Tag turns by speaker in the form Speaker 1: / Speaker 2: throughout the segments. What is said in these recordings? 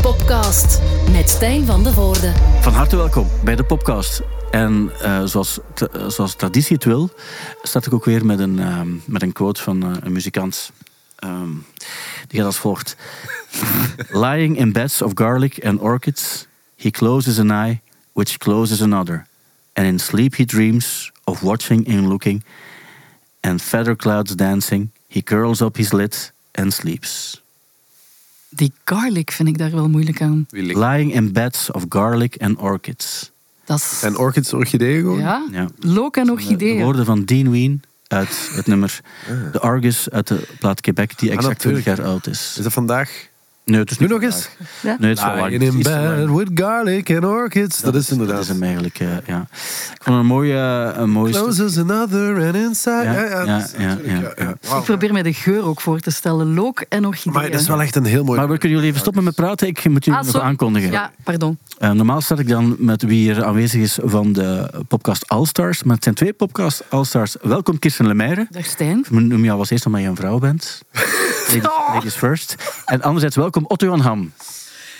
Speaker 1: Popcast met Stijn van de Voorde.
Speaker 2: Van harte welkom bij de podcast. En eh, zoals, t- eh, zoals traditie het wil, start ik ook weer met een, ehm, met een quote van eh, een muzikant. Ehm, die gaat als volgt: Lying in beds of garlic and orchids, he closes an eye which closes another. And in sleep he dreams of watching and looking, and feather clouds dancing, he curls up his lid and sleeps.
Speaker 3: Die garlic vind ik daar wel moeilijk aan.
Speaker 4: Wie ligt?
Speaker 2: Lying in beds of garlic and orchids.
Speaker 3: Dat is...
Speaker 4: En orchids, orchideeën gewoon?
Speaker 3: ja?
Speaker 2: Ja.
Speaker 3: Look en
Speaker 2: De
Speaker 3: orchideeën.
Speaker 2: woorden van Dean Ween uit het nummer De Argus uit de plaat Quebec, die exact 20
Speaker 4: Ah. natuurlijk.
Speaker 2: jaar oud is.
Speaker 4: Is dat vandaag?
Speaker 2: Nee, het is
Speaker 4: Nu
Speaker 2: niet
Speaker 4: nog eens?
Speaker 2: vandaag.
Speaker 3: Ja?
Speaker 2: Nee, het is wel lang.
Speaker 4: Lying
Speaker 2: Het
Speaker 4: in
Speaker 2: is wel lang.
Speaker 4: bed with garlic and orchids. Dat is
Speaker 2: Dat
Speaker 4: inderdaad.
Speaker 2: is hem eigenlijk, eh, ja. Ik vond het een mooie... eh, Een mooie stuk.
Speaker 4: Closes another and inside.
Speaker 2: Ja,
Speaker 4: Ja, ja,
Speaker 2: ja,
Speaker 4: dat is
Speaker 2: ja,
Speaker 4: natuurlijk,
Speaker 2: ja, ja.
Speaker 4: Wauw.
Speaker 3: Ik probeer mij de geur ook voor te stellen. Look en orchideeën.
Speaker 4: Maar dat is wel echt een heel mooi...
Speaker 2: Maar we kunnen jullie even stoppen met praten. Ik moet jullie
Speaker 3: Ah,
Speaker 2: nog
Speaker 3: sorry.
Speaker 2: aankondigen.
Speaker 3: Ja, pardon.
Speaker 2: Eh, normaal start ik dan met wie er aanwezig is van de podcast Allstars. Maar het zijn twee podcast Allstars. Welkom Kirsten Lemaire.
Speaker 3: Dag Stijn.
Speaker 2: Ik noem jou als eerst omdat je een vrouw bent. Ladies, ladies first. En anderzijds welkom Otto Jan Ham.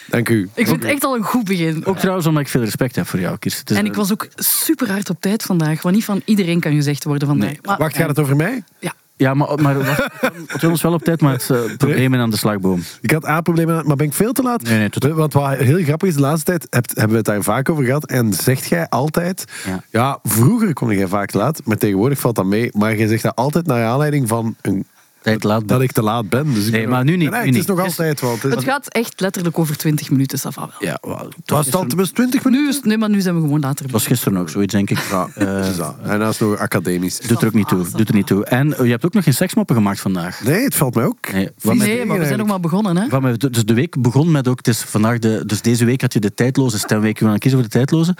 Speaker 4: Dank u.
Speaker 3: Ik vind het echt al een goed begin.
Speaker 2: Ook trouwens omdat ik veel respect heb voor jou, Kirsten. Het is
Speaker 3: En ik
Speaker 2: een-
Speaker 3: was ook super hard op tijd vandaag. Wat niet van iedereen kan gezegd worden vandaag.
Speaker 2: Nee.
Speaker 3: Maar- eh,
Speaker 4: Wacht, gaat het over mij?
Speaker 3: Ja.
Speaker 2: Ja, maar, maar wacht, het wil ons wel op tijd, maar het eh, probleem is aan de slagboom.
Speaker 4: Ik had A-problemen, maar ben ik veel te laat?
Speaker 2: Nee, nee, totaal.
Speaker 4: Want wat heel grappig is, de laatste tijd hebt, hebben we het daar vaak over gehad. En zegt jij altijd...
Speaker 2: Ja.
Speaker 4: Ja, vroeger kon jij vaak te laat, maar tegenwoordig valt dat mee. Maar jij zegt dat altijd naar aanleiding van een,
Speaker 2: Tijd laat
Speaker 4: dat
Speaker 2: ben.
Speaker 4: ik te laat ben. Dus ik
Speaker 2: Nee,
Speaker 4: ben-
Speaker 2: maar nu niet,
Speaker 4: Nee,
Speaker 2: nu
Speaker 4: het is
Speaker 2: niet.
Speaker 4: nog
Speaker 2: Het is-
Speaker 4: altijd wel. Het is,
Speaker 3: Het gaat echt letterlijk over 20 minuten, Safa wel.
Speaker 2: Ja, wel, het was,
Speaker 4: was dan
Speaker 2: gisteren,
Speaker 4: tenminste 20 minuten.
Speaker 3: Nu is, nee, maar nu zijn we gewoon later.
Speaker 2: het was gisteren ook zoiets, denk ik.
Speaker 4: Ja,
Speaker 2: Eh,
Speaker 4: dus dat. en dat is nog academisch.
Speaker 2: doet er ook niet toe. Doet er niet toe. En eh, je hebt ook nog geen seksmoppen gemaakt vandaag.
Speaker 4: Nee, het valt mij ook.
Speaker 2: Nee,
Speaker 4: Vies
Speaker 2: wat met-
Speaker 3: Nee, maar we zijn nog maar begonnen, hè?
Speaker 2: Van mij- Dus de week begon met ook, dus, vandaag de, dus deze week had je de tijdloze stemweek, we gaan kiezen voor de tijdloze.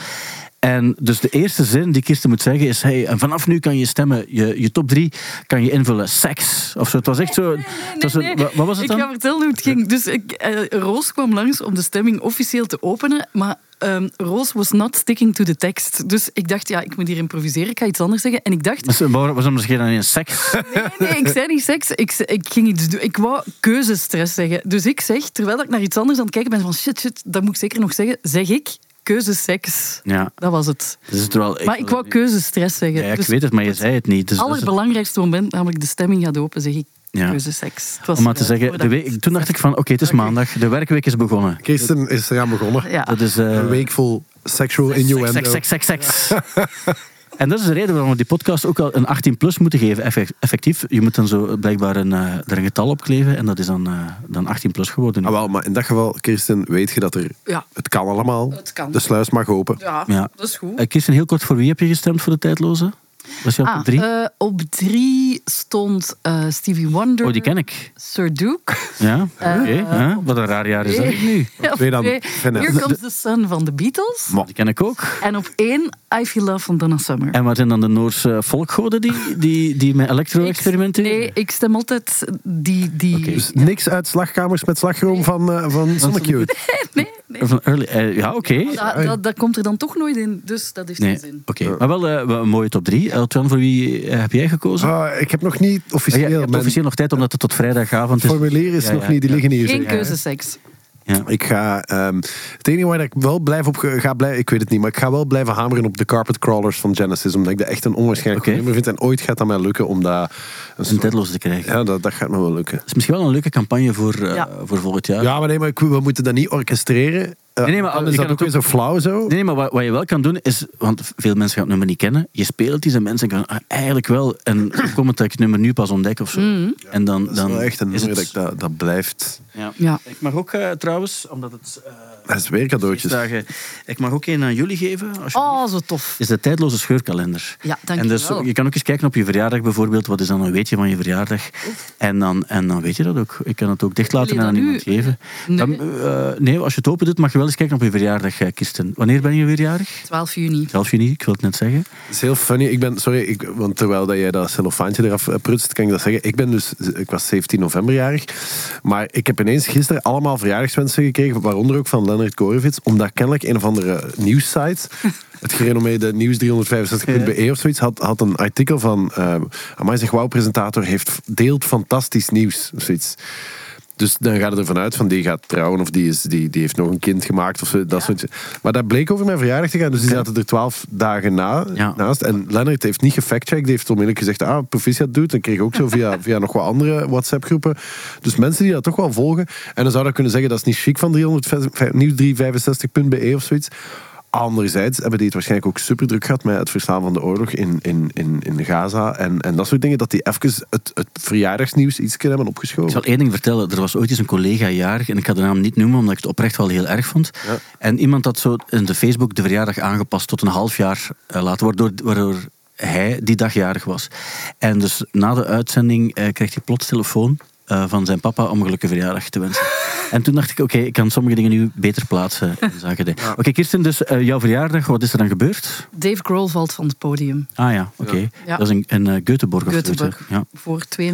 Speaker 2: En dus de eerste zin die Kirsten moet zeggen is, hey, en vanaf nu kan je stemmen, je, je top drie kan je invullen, seks. Of zo, het was echt zo... het was een- wa- Wat was het
Speaker 3: Ik ga
Speaker 2: dan?
Speaker 3: vertellen hoe het ging. Dus ik, eh, Roos kwam langs om de stemming officieel te openen, maar ehm, Roos was not sticking to the text. Dus ik dacht, ja, ik moet hier improviseren, ik ga iets anders zeggen. En ik dacht,
Speaker 2: Was was er misschien alleen seks?
Speaker 3: nee, nee, ik zei niet seks, ik, ze- ik ging iets doen. Ik wou keuzestress zeggen. Dus ik zeg, terwijl ik naar iets anders aan het kijken ben, van shit, shit, dat moet ik zeker nog zeggen, zeg ik keuzeseks.
Speaker 2: Ja.
Speaker 3: Dat was het.
Speaker 2: Dus het wel,
Speaker 3: Maar ik wou keuzestress zeggen.
Speaker 2: Ja, ja, ik
Speaker 3: Dus
Speaker 2: weet het, maar je zei het niet. Dus
Speaker 3: het
Speaker 2: dat is het-
Speaker 3: allerbelangrijkste moment, namelijk de stemming gaat open, zeg ik
Speaker 2: Ja.
Speaker 3: keuzeseks. Het was,
Speaker 2: om maar te
Speaker 3: eh,
Speaker 2: zeggen, de
Speaker 3: voordat-
Speaker 2: week, toen dacht ik van, oké, het is maandag, de werkweek is begonnen.
Speaker 4: Kirsten is eraan begonnen.
Speaker 3: Ja.
Speaker 2: Dat is... eh,
Speaker 4: Een week vol sexual
Speaker 2: seks,
Speaker 4: innuendo.
Speaker 2: seks, seks, seks, seks. En dat is de reden waarom we die podcast ook al een 18 plus moeten geven, effe- effectief. Je moet dan zo blijkbaar een, eh, er een getal op kleven en dat is dan, eh, dan 18 plus geworden.
Speaker 4: Ah, wel, maar in dat geval, Kirsten, weet je dat er...
Speaker 3: Ja.
Speaker 4: Het kan allemaal.
Speaker 3: Oh, Het kan.
Speaker 4: De sluis mag open.
Speaker 3: Ja,
Speaker 2: Ja.
Speaker 3: dat is goed.
Speaker 2: Eh, Kirsten, heel kort, voor wie heb je gestemd voor de tijdloze? Was je op
Speaker 3: Ah,
Speaker 2: drie?
Speaker 3: eh, op drie stond eh, Stevie Wonder.
Speaker 2: oh, die ken ik.
Speaker 3: Sir Duke.
Speaker 2: Ja,
Speaker 3: eh,
Speaker 2: oké. ja, wat een raar jaar is dat nu.
Speaker 3: Ja,
Speaker 4: twee dan.
Speaker 3: twee.
Speaker 4: Vind het.
Speaker 3: Here Comes the Sun van de Beatles.
Speaker 2: Maar Die ken ik ook.
Speaker 3: En op één, I Feel Love van Donna Summer.
Speaker 2: En wat zijn dan de Noorse volkgoden die, die, die met electro-experimenten?
Speaker 3: Nee, ik stem altijd die... die
Speaker 2: Oké.
Speaker 4: Dus niks uit slagkamers met slagroom van, eh, van Sonic
Speaker 3: Nee, nee.
Speaker 2: Van early, eh, ja, oké.
Speaker 3: Ah, Dat, dat, dat komt er dan toch nooit in, dus dat heeft geen
Speaker 2: Nee,
Speaker 3: zin.
Speaker 2: oké. Maar wel eh, wel een mooie top 3. Elton, voor wie eh, heb jij gekozen?
Speaker 4: Ah, ik heb nog niet officieel...
Speaker 2: Ja, je hebt
Speaker 4: mijn
Speaker 2: officieel nog tijd, omdat het tot vrijdagavond is.
Speaker 4: formulier is
Speaker 2: Ja,
Speaker 4: nog
Speaker 2: ja,
Speaker 4: niet, die
Speaker 2: ja.
Speaker 4: liggen hier.
Speaker 3: Geen
Speaker 4: zeker?
Speaker 3: keuzeseks.
Speaker 2: Ja.
Speaker 4: Ik ga... ehm, het enige waar ik wel blijf op ge- ga blijven... Ik weet het niet, maar ik ga wel blijven hameren op de carpet crawlers van Genesis. Omdat ik dat echt een onwaarschijnlijk
Speaker 2: Oké.
Speaker 4: nummer vind. En ooit gaat dat mij lukken om dat... Een
Speaker 2: Een
Speaker 4: soort-
Speaker 2: deadloos te krijgen.
Speaker 4: ja, dat, dat gaat me wel lukken.
Speaker 2: Het is misschien wel een leuke campagne voor, eh,
Speaker 3: Ja.
Speaker 2: voor volgend jaar.
Speaker 4: Ja, maar nee, maar ik- we moeten dat niet orchestreren. Eh,
Speaker 2: Nee, nee, maar
Speaker 4: dan
Speaker 2: je
Speaker 4: is
Speaker 2: kan
Speaker 4: dat
Speaker 2: het
Speaker 4: ook weer zo flauw zo.
Speaker 2: Nee, nee, maar wat, wat je wel kan doen is... Want veel mensen gaan het nummer niet kennen. Je speelt iets en mensen gaan ah, eigenlijk wel... En zo komt het dat ik het nummer nu pas ontdek of zo.
Speaker 3: Mm.
Speaker 2: En dan,
Speaker 4: Dat
Speaker 2: dan
Speaker 4: is wel echt een
Speaker 2: is
Speaker 4: nummer
Speaker 2: het...
Speaker 4: dat, ik- dat, dat blijft.
Speaker 2: Ja.
Speaker 3: Ja.
Speaker 2: Ik mag ook eh, trouwens, omdat het... eh,
Speaker 4: Dat is weer cadeautjes.
Speaker 2: feestdagen- Ik mag ook één aan jullie geven. alsjeblieft.
Speaker 3: Oh, zo tof.
Speaker 2: is de tijdloze scheurkalender.
Speaker 3: Ja, dank
Speaker 2: en
Speaker 3: je
Speaker 2: dus
Speaker 3: wel.
Speaker 2: Je kan ook eens kijken op je verjaardag bijvoorbeeld. Wat is dan een weetje van je verjaardag? En dan, en dan weet je dat ook. Ik kan het ook dicht laten en
Speaker 3: Wil je
Speaker 2: aan
Speaker 3: dat
Speaker 2: iemand
Speaker 3: nu?
Speaker 2: geven.
Speaker 3: Nee.
Speaker 2: Dan, eh, nee, als je het open doet, mag je wel eens kijken op je verjaardag, eh, Kirsten. Wanneer ben je verjaardig?
Speaker 3: 12 juni.
Speaker 2: 12 juni, ik wil het net zeggen.
Speaker 4: Het is heel funny. Ik ben, sorry, ik, want terwijl dat jij dat cellofaantje eraf eh, prutst, kan ik dat zeggen. Ik ben dus, ik was 17 november jarig. Maar ik heb ineens gisteren allemaal verjaardagswensen gekregen, waaronder ook van Leonard Korevits, omdat kennelijk een of andere nieuwssite, het gerenommeerde nieuws 365.be E of zoiets, had, had een artikel eh, van, uh, amai zeg, wauw, presentator heeft, deelt fantastisch nieuws, of zoiets. Dus dan gaat het ervan uit van die gaat trouwen of die, is, die, die heeft nog een kind gemaakt. Of zo, dat soort, maar dat bleek over mijn verjaardag te gaan. Dus die zaten er twaalf dagen na,
Speaker 2: Ja.
Speaker 4: naast. En Leonard heeft niet gefactcheckt. Die heeft onmiddellijk gezegd, ah, proficiat doet. Dan kreeg ik ook zo via, via nog wat andere WhatsApp groepen. Dus mensen die dat toch wel volgen. En dan zou dat kunnen zeggen, dat is niet chic van 365 nieuw 365.be of zoiets. Anderzijds hebben die het waarschijnlijk ook super druk gehad met het verslaan van de oorlog in, in, in, in Gaza en, en dat soort dingen. Dat die even het, het verjaardagsnieuws iets kunnen hebben
Speaker 2: Ik
Speaker 4: opgeschoven.
Speaker 2: zal één ding vertellen. Er was ooit eens een collega jarig, en ik ga de naam niet noemen, omdat ik het oprecht wel heel erg vond. En iemand had zo in de Facebook de verjaardag aangepast tot een half jaar eh, later, waardoor, waardoor hij die dag jarig was. En dus na de uitzending eh, kreeg hij plots telefoon eh, van zijn papa om een gelukkige verjaardag te wensen. en toen dacht ik, oké, ik kan sommige dingen nu beter plaatsen in zaken. dingen. Oké, Kirsten, dus eh, jouw verjaardag, wat is er dan gebeurd?
Speaker 3: Dave Grohl valt van het podium.
Speaker 2: Ah ja, oké.
Speaker 3: Ja.
Speaker 2: Dat is in, in eh, Göteborg of zoiets, hè?
Speaker 3: Göteborg.
Speaker 2: Ja,
Speaker 3: Voor 52.000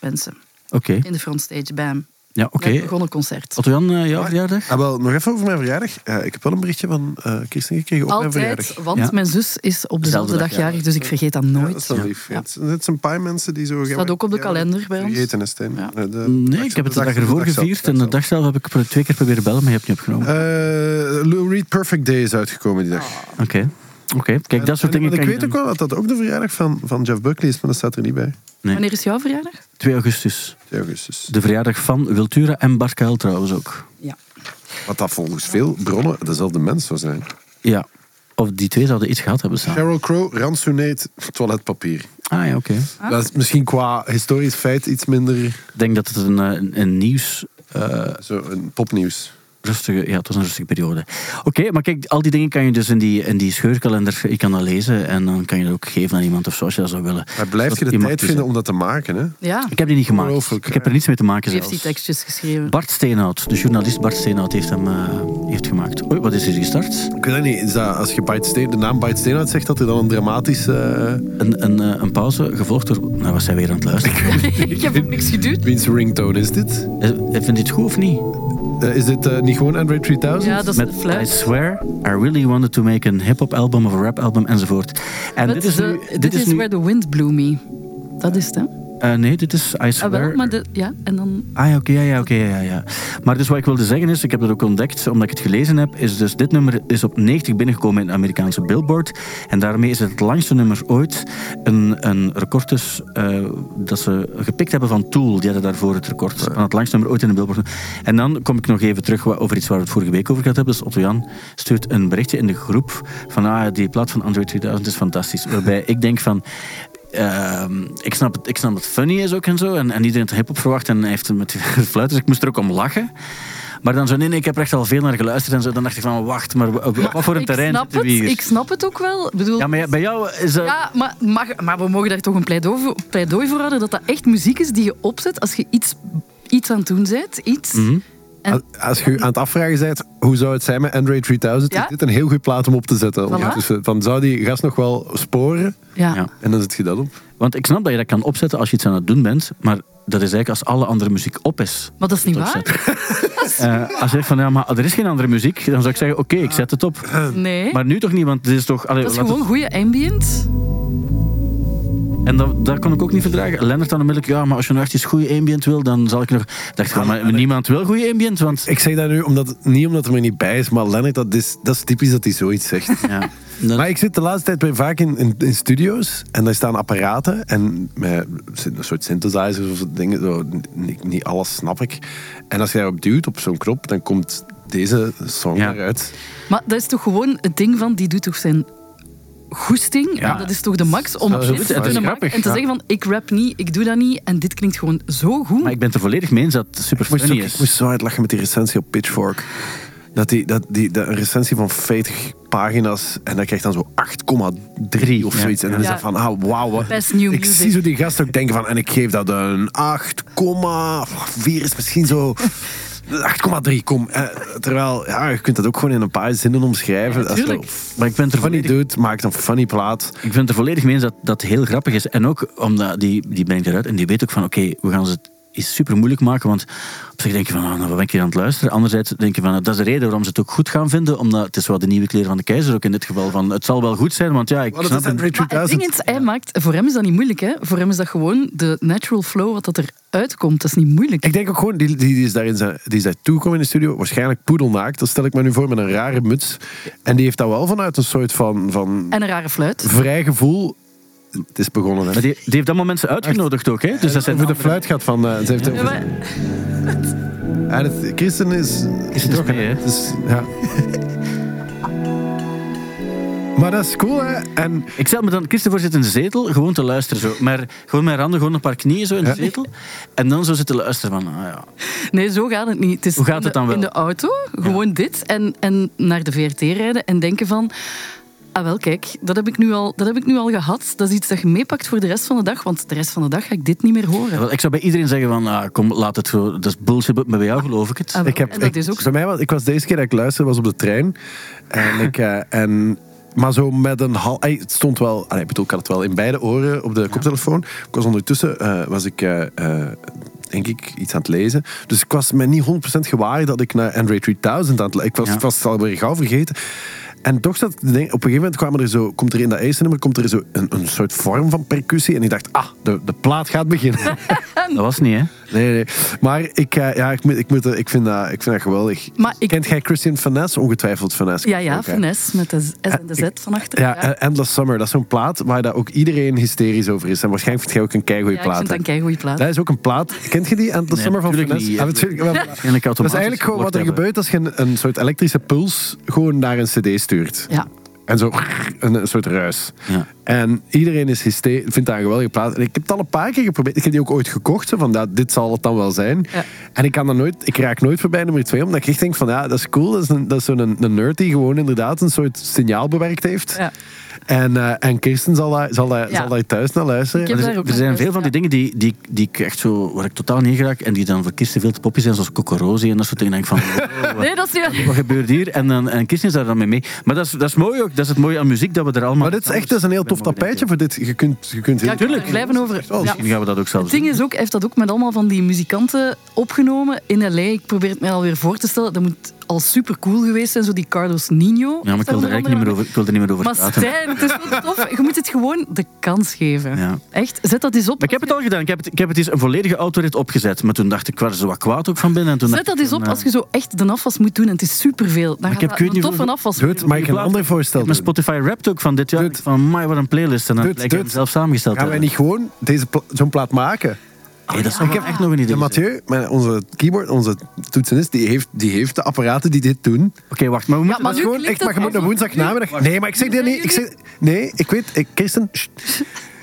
Speaker 3: mensen.
Speaker 2: oké.
Speaker 3: In de frontstage, bam.
Speaker 2: Ja, oké.
Speaker 3: Net begon een concert.
Speaker 2: Otto-Jan, eh, jouw verjaardag?
Speaker 4: Ah, wel, nog even over mijn verjaardag. Eh, ik heb wel een berichtje van eh Kirsten gekregen op mijn
Speaker 3: Altijd,
Speaker 4: verjaardag.
Speaker 3: want
Speaker 2: Ja.
Speaker 3: mijn zus is op
Speaker 2: Dezelfde
Speaker 3: dezelfde dag
Speaker 2: dag, ja.
Speaker 3: jarig, dus ik vergeet dat
Speaker 4: Ja, dat
Speaker 3: nooit.
Speaker 4: is wel lief. Ja, het- Het zijn een paar mensen die zo...
Speaker 3: Staat ook op de kalender bij ons.
Speaker 4: Vergeten is, Tim.
Speaker 3: Ja.
Speaker 4: Eh, de-
Speaker 2: Nee, ik heb het de dag ervoor
Speaker 4: zelf,
Speaker 2: gevierd
Speaker 4: de
Speaker 2: en de
Speaker 4: dag zelf.
Speaker 2: dag zelf heb ik pro- twee keer proberen bellen, maar je hebt niet opgenomen.
Speaker 4: Eh, Lou Reed Perfect Day is uitgekomen die dag.
Speaker 3: Ah.
Speaker 2: Oké, oké. Kijk, dat soort
Speaker 4: En-
Speaker 2: dingen
Speaker 4: en
Speaker 2: kan je
Speaker 4: Ik weet ook
Speaker 2: dan-
Speaker 4: wel dat dat ook de verjaardag van, van Jeff Buckley is, maar dat staat er niet bij.
Speaker 2: Nee.
Speaker 3: Wanneer is jouw verjaardag?
Speaker 2: 2 augustus,
Speaker 4: 2 augustus.
Speaker 2: de verjaardag van Wiltura en Bart Kuil trouwens ook.
Speaker 3: Ja.
Speaker 4: Wat dat volgens veel bronnen dezelfde mens zou zijn.
Speaker 2: Ja, of die twee zouden iets gehad hebben samen.
Speaker 4: Sheryl Crow ransoneert toiletpapier.
Speaker 2: Ah ja, oké.
Speaker 4: Dat is misschien qua historisch feit iets minder
Speaker 2: Ik denk dat het een, eh, een, een nieuws... eh,
Speaker 4: zo een popnieuws.
Speaker 2: rustige, ja, het was een rustige periode. Oké, maar kijk, al die dingen kan je dus in die, in die scheurkalender, je kan dat lezen en dan kan je dat ook geven aan iemand of zo, als je dat zou willen.
Speaker 4: Maar blijf je
Speaker 2: Zodat
Speaker 4: de
Speaker 2: iemand
Speaker 4: tijd
Speaker 2: dus-
Speaker 4: vinden om dat te maken, hè?
Speaker 3: Ja,
Speaker 2: Ik heb die niet gemaakt.
Speaker 4: Ongelooflijk,
Speaker 2: Ik heb
Speaker 4: hè?
Speaker 2: er niets mee te maken
Speaker 3: wie heeft
Speaker 2: zelfs.
Speaker 3: die tekstjes geschreven?
Speaker 2: Bart Steenhout, de journalist Bart Steenhout, heeft hem eh, heeft gemaakt. Oei, wat is hier gestart?
Speaker 4: Ik weet het niet, is dat, als je Bite Steen, de naam Bite Steenhout zegt, dat er dan een dramatisch... eh,
Speaker 2: Een, een, eh, een pauze, gevolgd door... Nou, was hij weer aan het luisteren?
Speaker 3: ik heb ook niks geduwd.
Speaker 4: Wiens ringtone is dit?
Speaker 2: Eh, Vindt hij het goed of niet?
Speaker 4: Eh, is dit eh, niet gewoon Android 3000?
Speaker 3: Ja, dat is
Speaker 2: Met
Speaker 3: de
Speaker 2: I
Speaker 3: fluit.
Speaker 2: swear, I really wanted to make an hip-hop album of a rap album, enzovoort. En
Speaker 3: Met
Speaker 2: dit is
Speaker 3: de-
Speaker 2: nu...
Speaker 3: Dit is
Speaker 2: nu
Speaker 3: Where the Wind Blew Me. Dat is het, hè?
Speaker 2: eh, nee, dit is I
Speaker 3: Ah,
Speaker 2: swear...
Speaker 3: wel, maar de, ja, en dan...
Speaker 2: Ah ja, oké, ja, ja, oké, ja, ja. Maar dus wat ik wilde zeggen is, ik heb dat ook ontdekt, omdat ik het gelezen heb, is dus dit nummer is op 90 binnengekomen in de Amerikaanse Billboard. En daarmee is het het langste nummer ooit. Een, een record dus, eh, dat ze gepikt hebben van Tool, die hadden daarvoor het record van het langste nummer ooit in de Billboard. En dan kom ik nog even terug wa- over iets waar we het vorige week over gehad hebben. Dus Otto-Jan stuurt een berichtje in de groep van, ah, die plaat van Android 2000 is fantastisch. Waarbij ik denk van, Ehm, ik, snap het, ik snap het funny is ook en zo. En, en iedereen het hip-hop verwacht en hij heeft het met die fluit. Dus ik moest er ook om lachen. Maar dan zo, nee, nee, ik heb er echt al veel naar geluisterd en zo. Dan dacht ik van, wacht, maar op- op, wat voor een
Speaker 3: ik
Speaker 2: terrein
Speaker 3: snap
Speaker 2: zitten
Speaker 3: het,
Speaker 2: we hier?
Speaker 3: ik snap het ook wel. Ik bedoel,
Speaker 2: Ja,
Speaker 3: ja,
Speaker 2: maar ja, bij jou is dat...
Speaker 3: maar, mag, maar we mogen daar toch een pleidooi voor, pleidooi voor houden dat dat echt muziek is die je opzet als je iets, iets aan het doen bent. Iets.
Speaker 2: Mhm.
Speaker 4: Als- Als je aan het afvragen bent, hoe zou het zijn met Android 3000?
Speaker 3: Ja?
Speaker 4: Is dit een heel goed plaat om op te zetten? ondertussen? Van, zou die gast nog wel sporen?
Speaker 3: Ja.
Speaker 2: Ja.
Speaker 4: En dan zet je dat op.
Speaker 2: Want ik snap dat je dat kan opzetten als je iets aan het doen bent. Maar dat is eigenlijk als alle andere muziek op is.
Speaker 3: Maar dat is niet waar.
Speaker 2: Eh, als je zegt van, ja, maar er is geen andere muziek. Dan zou ik zeggen, oké, ik zet het op.
Speaker 3: Nee.
Speaker 2: Maar nu toch niet, want dit is toch... allee,
Speaker 3: dat is
Speaker 2: laat het-
Speaker 3: gewoon goede ambient.
Speaker 2: En dat, dat kon ik ook niet verdragen. Lennart dan onmiddellijk, ja, maar als je nou echt eens goede ambient wil, dan zal ik nog... Ik dacht gewoon, maar niemand wil goede ambient, want...
Speaker 4: Ik zeg dat nu omdat, niet omdat het er niet bij is, maar Lennart, dat is, dat is typisch dat hij zoiets zegt.
Speaker 2: Ja, dat-
Speaker 4: Maar ik zit de laatste tijd bij vaak in, in, in studio's en daar staan apparaten en met een soort synthesizers of zo dingen. Zo, niet, niet alles snap ik. En als je daarop duwt, op zo'n knop, dan komt deze song
Speaker 2: Ja.
Speaker 4: eruit.
Speaker 3: Maar dat is toch gewoon het ding van, die doet toch zijn goesting.
Speaker 2: Ja.
Speaker 3: en dat is toch de max om
Speaker 4: Dat is
Speaker 3: shit
Speaker 4: goed,
Speaker 3: te
Speaker 4: dat is
Speaker 3: kunnen maken.
Speaker 2: grappig,
Speaker 3: En te
Speaker 2: ja.
Speaker 3: zeggen van, ik rap niet, ik doe dat niet. En dit klinkt gewoon zo goed.
Speaker 2: maar ik ben het er volledig mee eens dat het super
Speaker 4: Ik moest,
Speaker 2: funny
Speaker 4: ook- ik
Speaker 2: is.
Speaker 4: moest zo hard lachen met die recensie op Pitchfork. Dat die, dat die dat een recensie van 40 pagina's en dat krijgt dan zo 8,3 of
Speaker 2: Ja.
Speaker 4: zoiets. En dan is
Speaker 3: Ja.
Speaker 4: dat van, ah, wauw. wat-
Speaker 3: Best new
Speaker 4: ik
Speaker 3: music.
Speaker 4: zie zo die gast ook denken van, en ik geef dat een 8,4 is misschien zo... 8,3, kom. Eh, terwijl, ja, je kunt dat ook gewoon in een paar zinnen omschrijven. Als je
Speaker 2: Tuurlijk. Maar ik ben het er
Speaker 4: funny
Speaker 2: volledig,
Speaker 4: doet, maakt een funny plaat.
Speaker 2: ik ben het er volledig mee eens dat dat heel grappig is. En ook omdat die, die ben ik eruit en die weet ook van, oké, we gaan ze is super moeilijk maken. Want op zich denk je van, ah, nou, wat ben ik hier aan het luisteren? Anderzijds denk je van, ah, dat is de reden waarom ze het ook goed gaan vinden. Omdat het is wel de nieuwe kleren van de keizer ook in dit geval. Van, het zal wel goed zijn, want ja, ik
Speaker 4: Wat is
Speaker 2: snap
Speaker 4: dat,
Speaker 2: het.
Speaker 4: Ray
Speaker 3: Maar het
Speaker 4: 2000?
Speaker 3: ding is, hij maakt, voor hem is dat niet moeilijk. Hè? Voor hem is dat gewoon de natural flow, wat dat eruit komt. Dat is niet moeilijk.
Speaker 4: Ik denk ook gewoon, die, die, die is daarin zijn, die is daar toegekomen in de studio, waarschijnlijk poedelnaakt, dat stel ik me nu voor, met een rare muts. En die heeft dat wel vanuit een soort van, van
Speaker 3: En een rare fluit.
Speaker 4: vrij gevoel. Het is begonnen, hè.
Speaker 2: Maar die, die heeft allemaal mensen uitgenodigd ook, hè? Dus dat zijn
Speaker 4: Over de fluit gaat van... eh, ze heeft
Speaker 3: Ja,
Speaker 4: over-
Speaker 3: maar-
Speaker 4: Ja, dat- Christen is...
Speaker 2: is
Speaker 4: is ook-
Speaker 2: mee, hè?
Speaker 4: het is- ja. Maar dat is cool, hè? En
Speaker 2: Ik stel me dan, Christopher zit in de zetel, gewoon te luisteren zo. Maar gewoon met haar handen, gewoon een paar knieën zo in de
Speaker 4: Ja.
Speaker 2: zetel. En dan zo zitten luisteren van, ah ja.
Speaker 3: Nee, zo gaat het niet. Het is
Speaker 2: Hoe gaat
Speaker 3: in
Speaker 2: het
Speaker 3: de-
Speaker 2: dan wel?
Speaker 3: In de auto, gewoon dit. En, en naar de VRT rijden en denken van... Ah wel, kijk, dat heb, ik nu al, dat heb ik nu al gehad. Dat is iets dat je meepakt voor de rest van de dag. Want de rest van de dag ga ik dit niet meer horen.
Speaker 2: Wel, Ik zou bij iedereen zeggen van, ah, kom, laat het zo. Dat is bullshit, maar bij jou geloof ik het.
Speaker 3: Ah, wel,
Speaker 4: ik heb...
Speaker 3: en dat
Speaker 4: ik,
Speaker 3: is ook zo.
Speaker 4: bij mij, was- ik was deze keer dat ik luisterde, was op de trein. En ik... eh, en, maar zo met een hal... ey, het stond wel... allee, ik bedoel, ik had het wel in beide oren op de koptelefoon. Ik was ondertussen... eh, was ik... eh, eh, denk ik, iets aan het lezen. Dus ik was me niet 100% gewaar dat ik naar Andre 3000 aan het... lu- Ik was,
Speaker 2: Ja.
Speaker 4: ik was het alweer gauw vergeten. En toch zat ik te denken, op een gegeven moment kwamen er zo, komt er in dat eerste nummer komt er zo een, een soort vorm van percussie. En ik dacht, ah, de, de plaat gaat beginnen.
Speaker 2: Dat was niet, hè?
Speaker 4: Nee, nee. Maar ik, eh, ja, ik, moet, ik, moet, er- ik, vind dat, ik vind dat geweldig.
Speaker 3: Maar ik-
Speaker 4: Kent jij Christian Finesse? Ongetwijfeld Finesse.
Speaker 3: Ja, ja,
Speaker 4: Ook, hè?
Speaker 3: finesse met de S en de
Speaker 2: Eh,
Speaker 3: Z van achter.
Speaker 4: Ja, en- Endless Summer, dat is zo'n plaat waar daar ook iedereen hysterisch over is. En waarschijnlijk vind jij ook een keigoeie
Speaker 3: Ja, ik
Speaker 4: plaat.
Speaker 3: vind
Speaker 4: hè?
Speaker 3: dat een keigoeie plaat.
Speaker 4: Dat is ook een plaat. Kent je die Endless
Speaker 2: Nee,
Speaker 4: Summer van
Speaker 2: natuurlijk
Speaker 4: Finesse?
Speaker 2: niet,
Speaker 4: Ah,
Speaker 2: hè.
Speaker 4: natuurlijk wel.
Speaker 2: Waarschijnlijk
Speaker 4: Dat is
Speaker 2: automatisch
Speaker 4: eigenlijk gewoon wat er
Speaker 2: geblokkeerd
Speaker 4: gebeurt als je een, een soort elektrische puls gewoon naar een cd stuurt.
Speaker 3: Ja.
Speaker 4: En zo een, een soort ruis.
Speaker 2: Ja.
Speaker 4: En iedereen is hyste- vindt dat een geweldige plaat. En ik heb het al een paar keer geprobeerd. Ik heb die ook ooit gekocht. Zo van, dat, dit zal het dan wel zijn.
Speaker 3: Ja.
Speaker 4: En ik, kan dan nooit, ik raak nooit voorbij nummer twee. Omdat ik echt denk van, ja, dat is cool. Dat is, een, dat is zo'n een, nerd die gewoon inderdaad een soort signaal bewerkt heeft.
Speaker 3: Ja.
Speaker 4: En, eh, en Kirsten zal daar, zal, daar,
Speaker 3: Ja.
Speaker 4: zal daar thuis naar luisteren. Dus-
Speaker 3: Ik heb
Speaker 2: Er,
Speaker 3: daar ook
Speaker 2: er
Speaker 3: naar
Speaker 2: zijn veel
Speaker 3: geluisterd,
Speaker 2: van die dingen die, die, die ik echt zo, waar ik totaal niet in geraak en die dan voor Kirsten veel te poppy zijn, zoals Cocorosi en dat soort dingen. Dan denk ik van, oh, wat,
Speaker 3: Nee, dat is niet waar.
Speaker 2: wat gebeurt hier? En, dan, en Kirsten is daar dan mee mee. Maar dat is, dat is mooi ook, dat is het mooie aan muziek, dat we er allemaal...
Speaker 4: Maar dit is echt dat is een heel tof tapijtje voor dit. Je kunt, je kunt Oh, heel
Speaker 3: Ja, ik kan er blijven over.
Speaker 4: wel.
Speaker 3: Ja.
Speaker 2: Misschien gaan we dat ook zelf
Speaker 3: Het ding
Speaker 2: doen.
Speaker 3: is ook, hij heeft dat ook met allemaal van die muzikanten opgenomen in L.A. Ik probeer het mij alweer voor te stellen. Dat moet al super cool geweest zijn, zo die Carlos Nino.
Speaker 2: Ja, maar ik wil er eigenlijk niet meer over, ik wil er niet meer over
Speaker 3: Maar
Speaker 2: praten.
Speaker 3: Stijn, het is wel tof. Je moet het gewoon de kans geven.
Speaker 2: Ja.
Speaker 3: Echt, zet dat eens op.
Speaker 2: Maar ik heb het al gedaan. Ik heb het, ik heb het eens een volledige autorit opgezet. Maar toen dacht ik, ik was er zo wat kwaad ook van binnen. En toen
Speaker 3: Zet dat
Speaker 2: dacht
Speaker 3: eens
Speaker 2: ik
Speaker 3: op
Speaker 2: van,
Speaker 3: als je zo echt de afwas moet doen. En het is superveel. Dan
Speaker 2: eh. ik
Speaker 3: gaat
Speaker 2: heb- ik
Speaker 3: dat
Speaker 2: weet
Speaker 3: een
Speaker 2: niet
Speaker 3: toffe
Speaker 2: hoe-
Speaker 3: afwas
Speaker 4: Doet, maar ik
Speaker 2: Ik
Speaker 4: een
Speaker 2: laat-
Speaker 4: ander voorstel
Speaker 2: Mijn
Speaker 4: doen.
Speaker 2: Spotify rapt ook van dit jaar.
Speaker 4: Dude.
Speaker 2: Van, my, wat een playlist. En dan
Speaker 4: Dude,
Speaker 2: blijkt ik hem
Speaker 4: dude.
Speaker 2: zelf samengesteld
Speaker 4: Gaan wij
Speaker 2: hebben.
Speaker 4: niet gewoon deze pla- zo'n plaat maken?
Speaker 2: Hey, dat zou ik echt nog een idee
Speaker 4: De
Speaker 2: zijn.
Speaker 4: Mathieu, mijn- onze keyboard, onze toetsenist, die heeft, die heeft de apparaten die dit doen.
Speaker 2: Oké, wacht. Maar we moeten
Speaker 3: maar
Speaker 4: Dat is
Speaker 3: nu
Speaker 4: gewoon,
Speaker 3: klinkt
Speaker 4: ik, maar je
Speaker 3: het
Speaker 4: moet op
Speaker 3: alsof-
Speaker 4: woensdag namiddag. Nee, maar ik zeg dit niet. Ik zeg, nee, ik weet, ik, Kirsten, sst,
Speaker 2: Nee,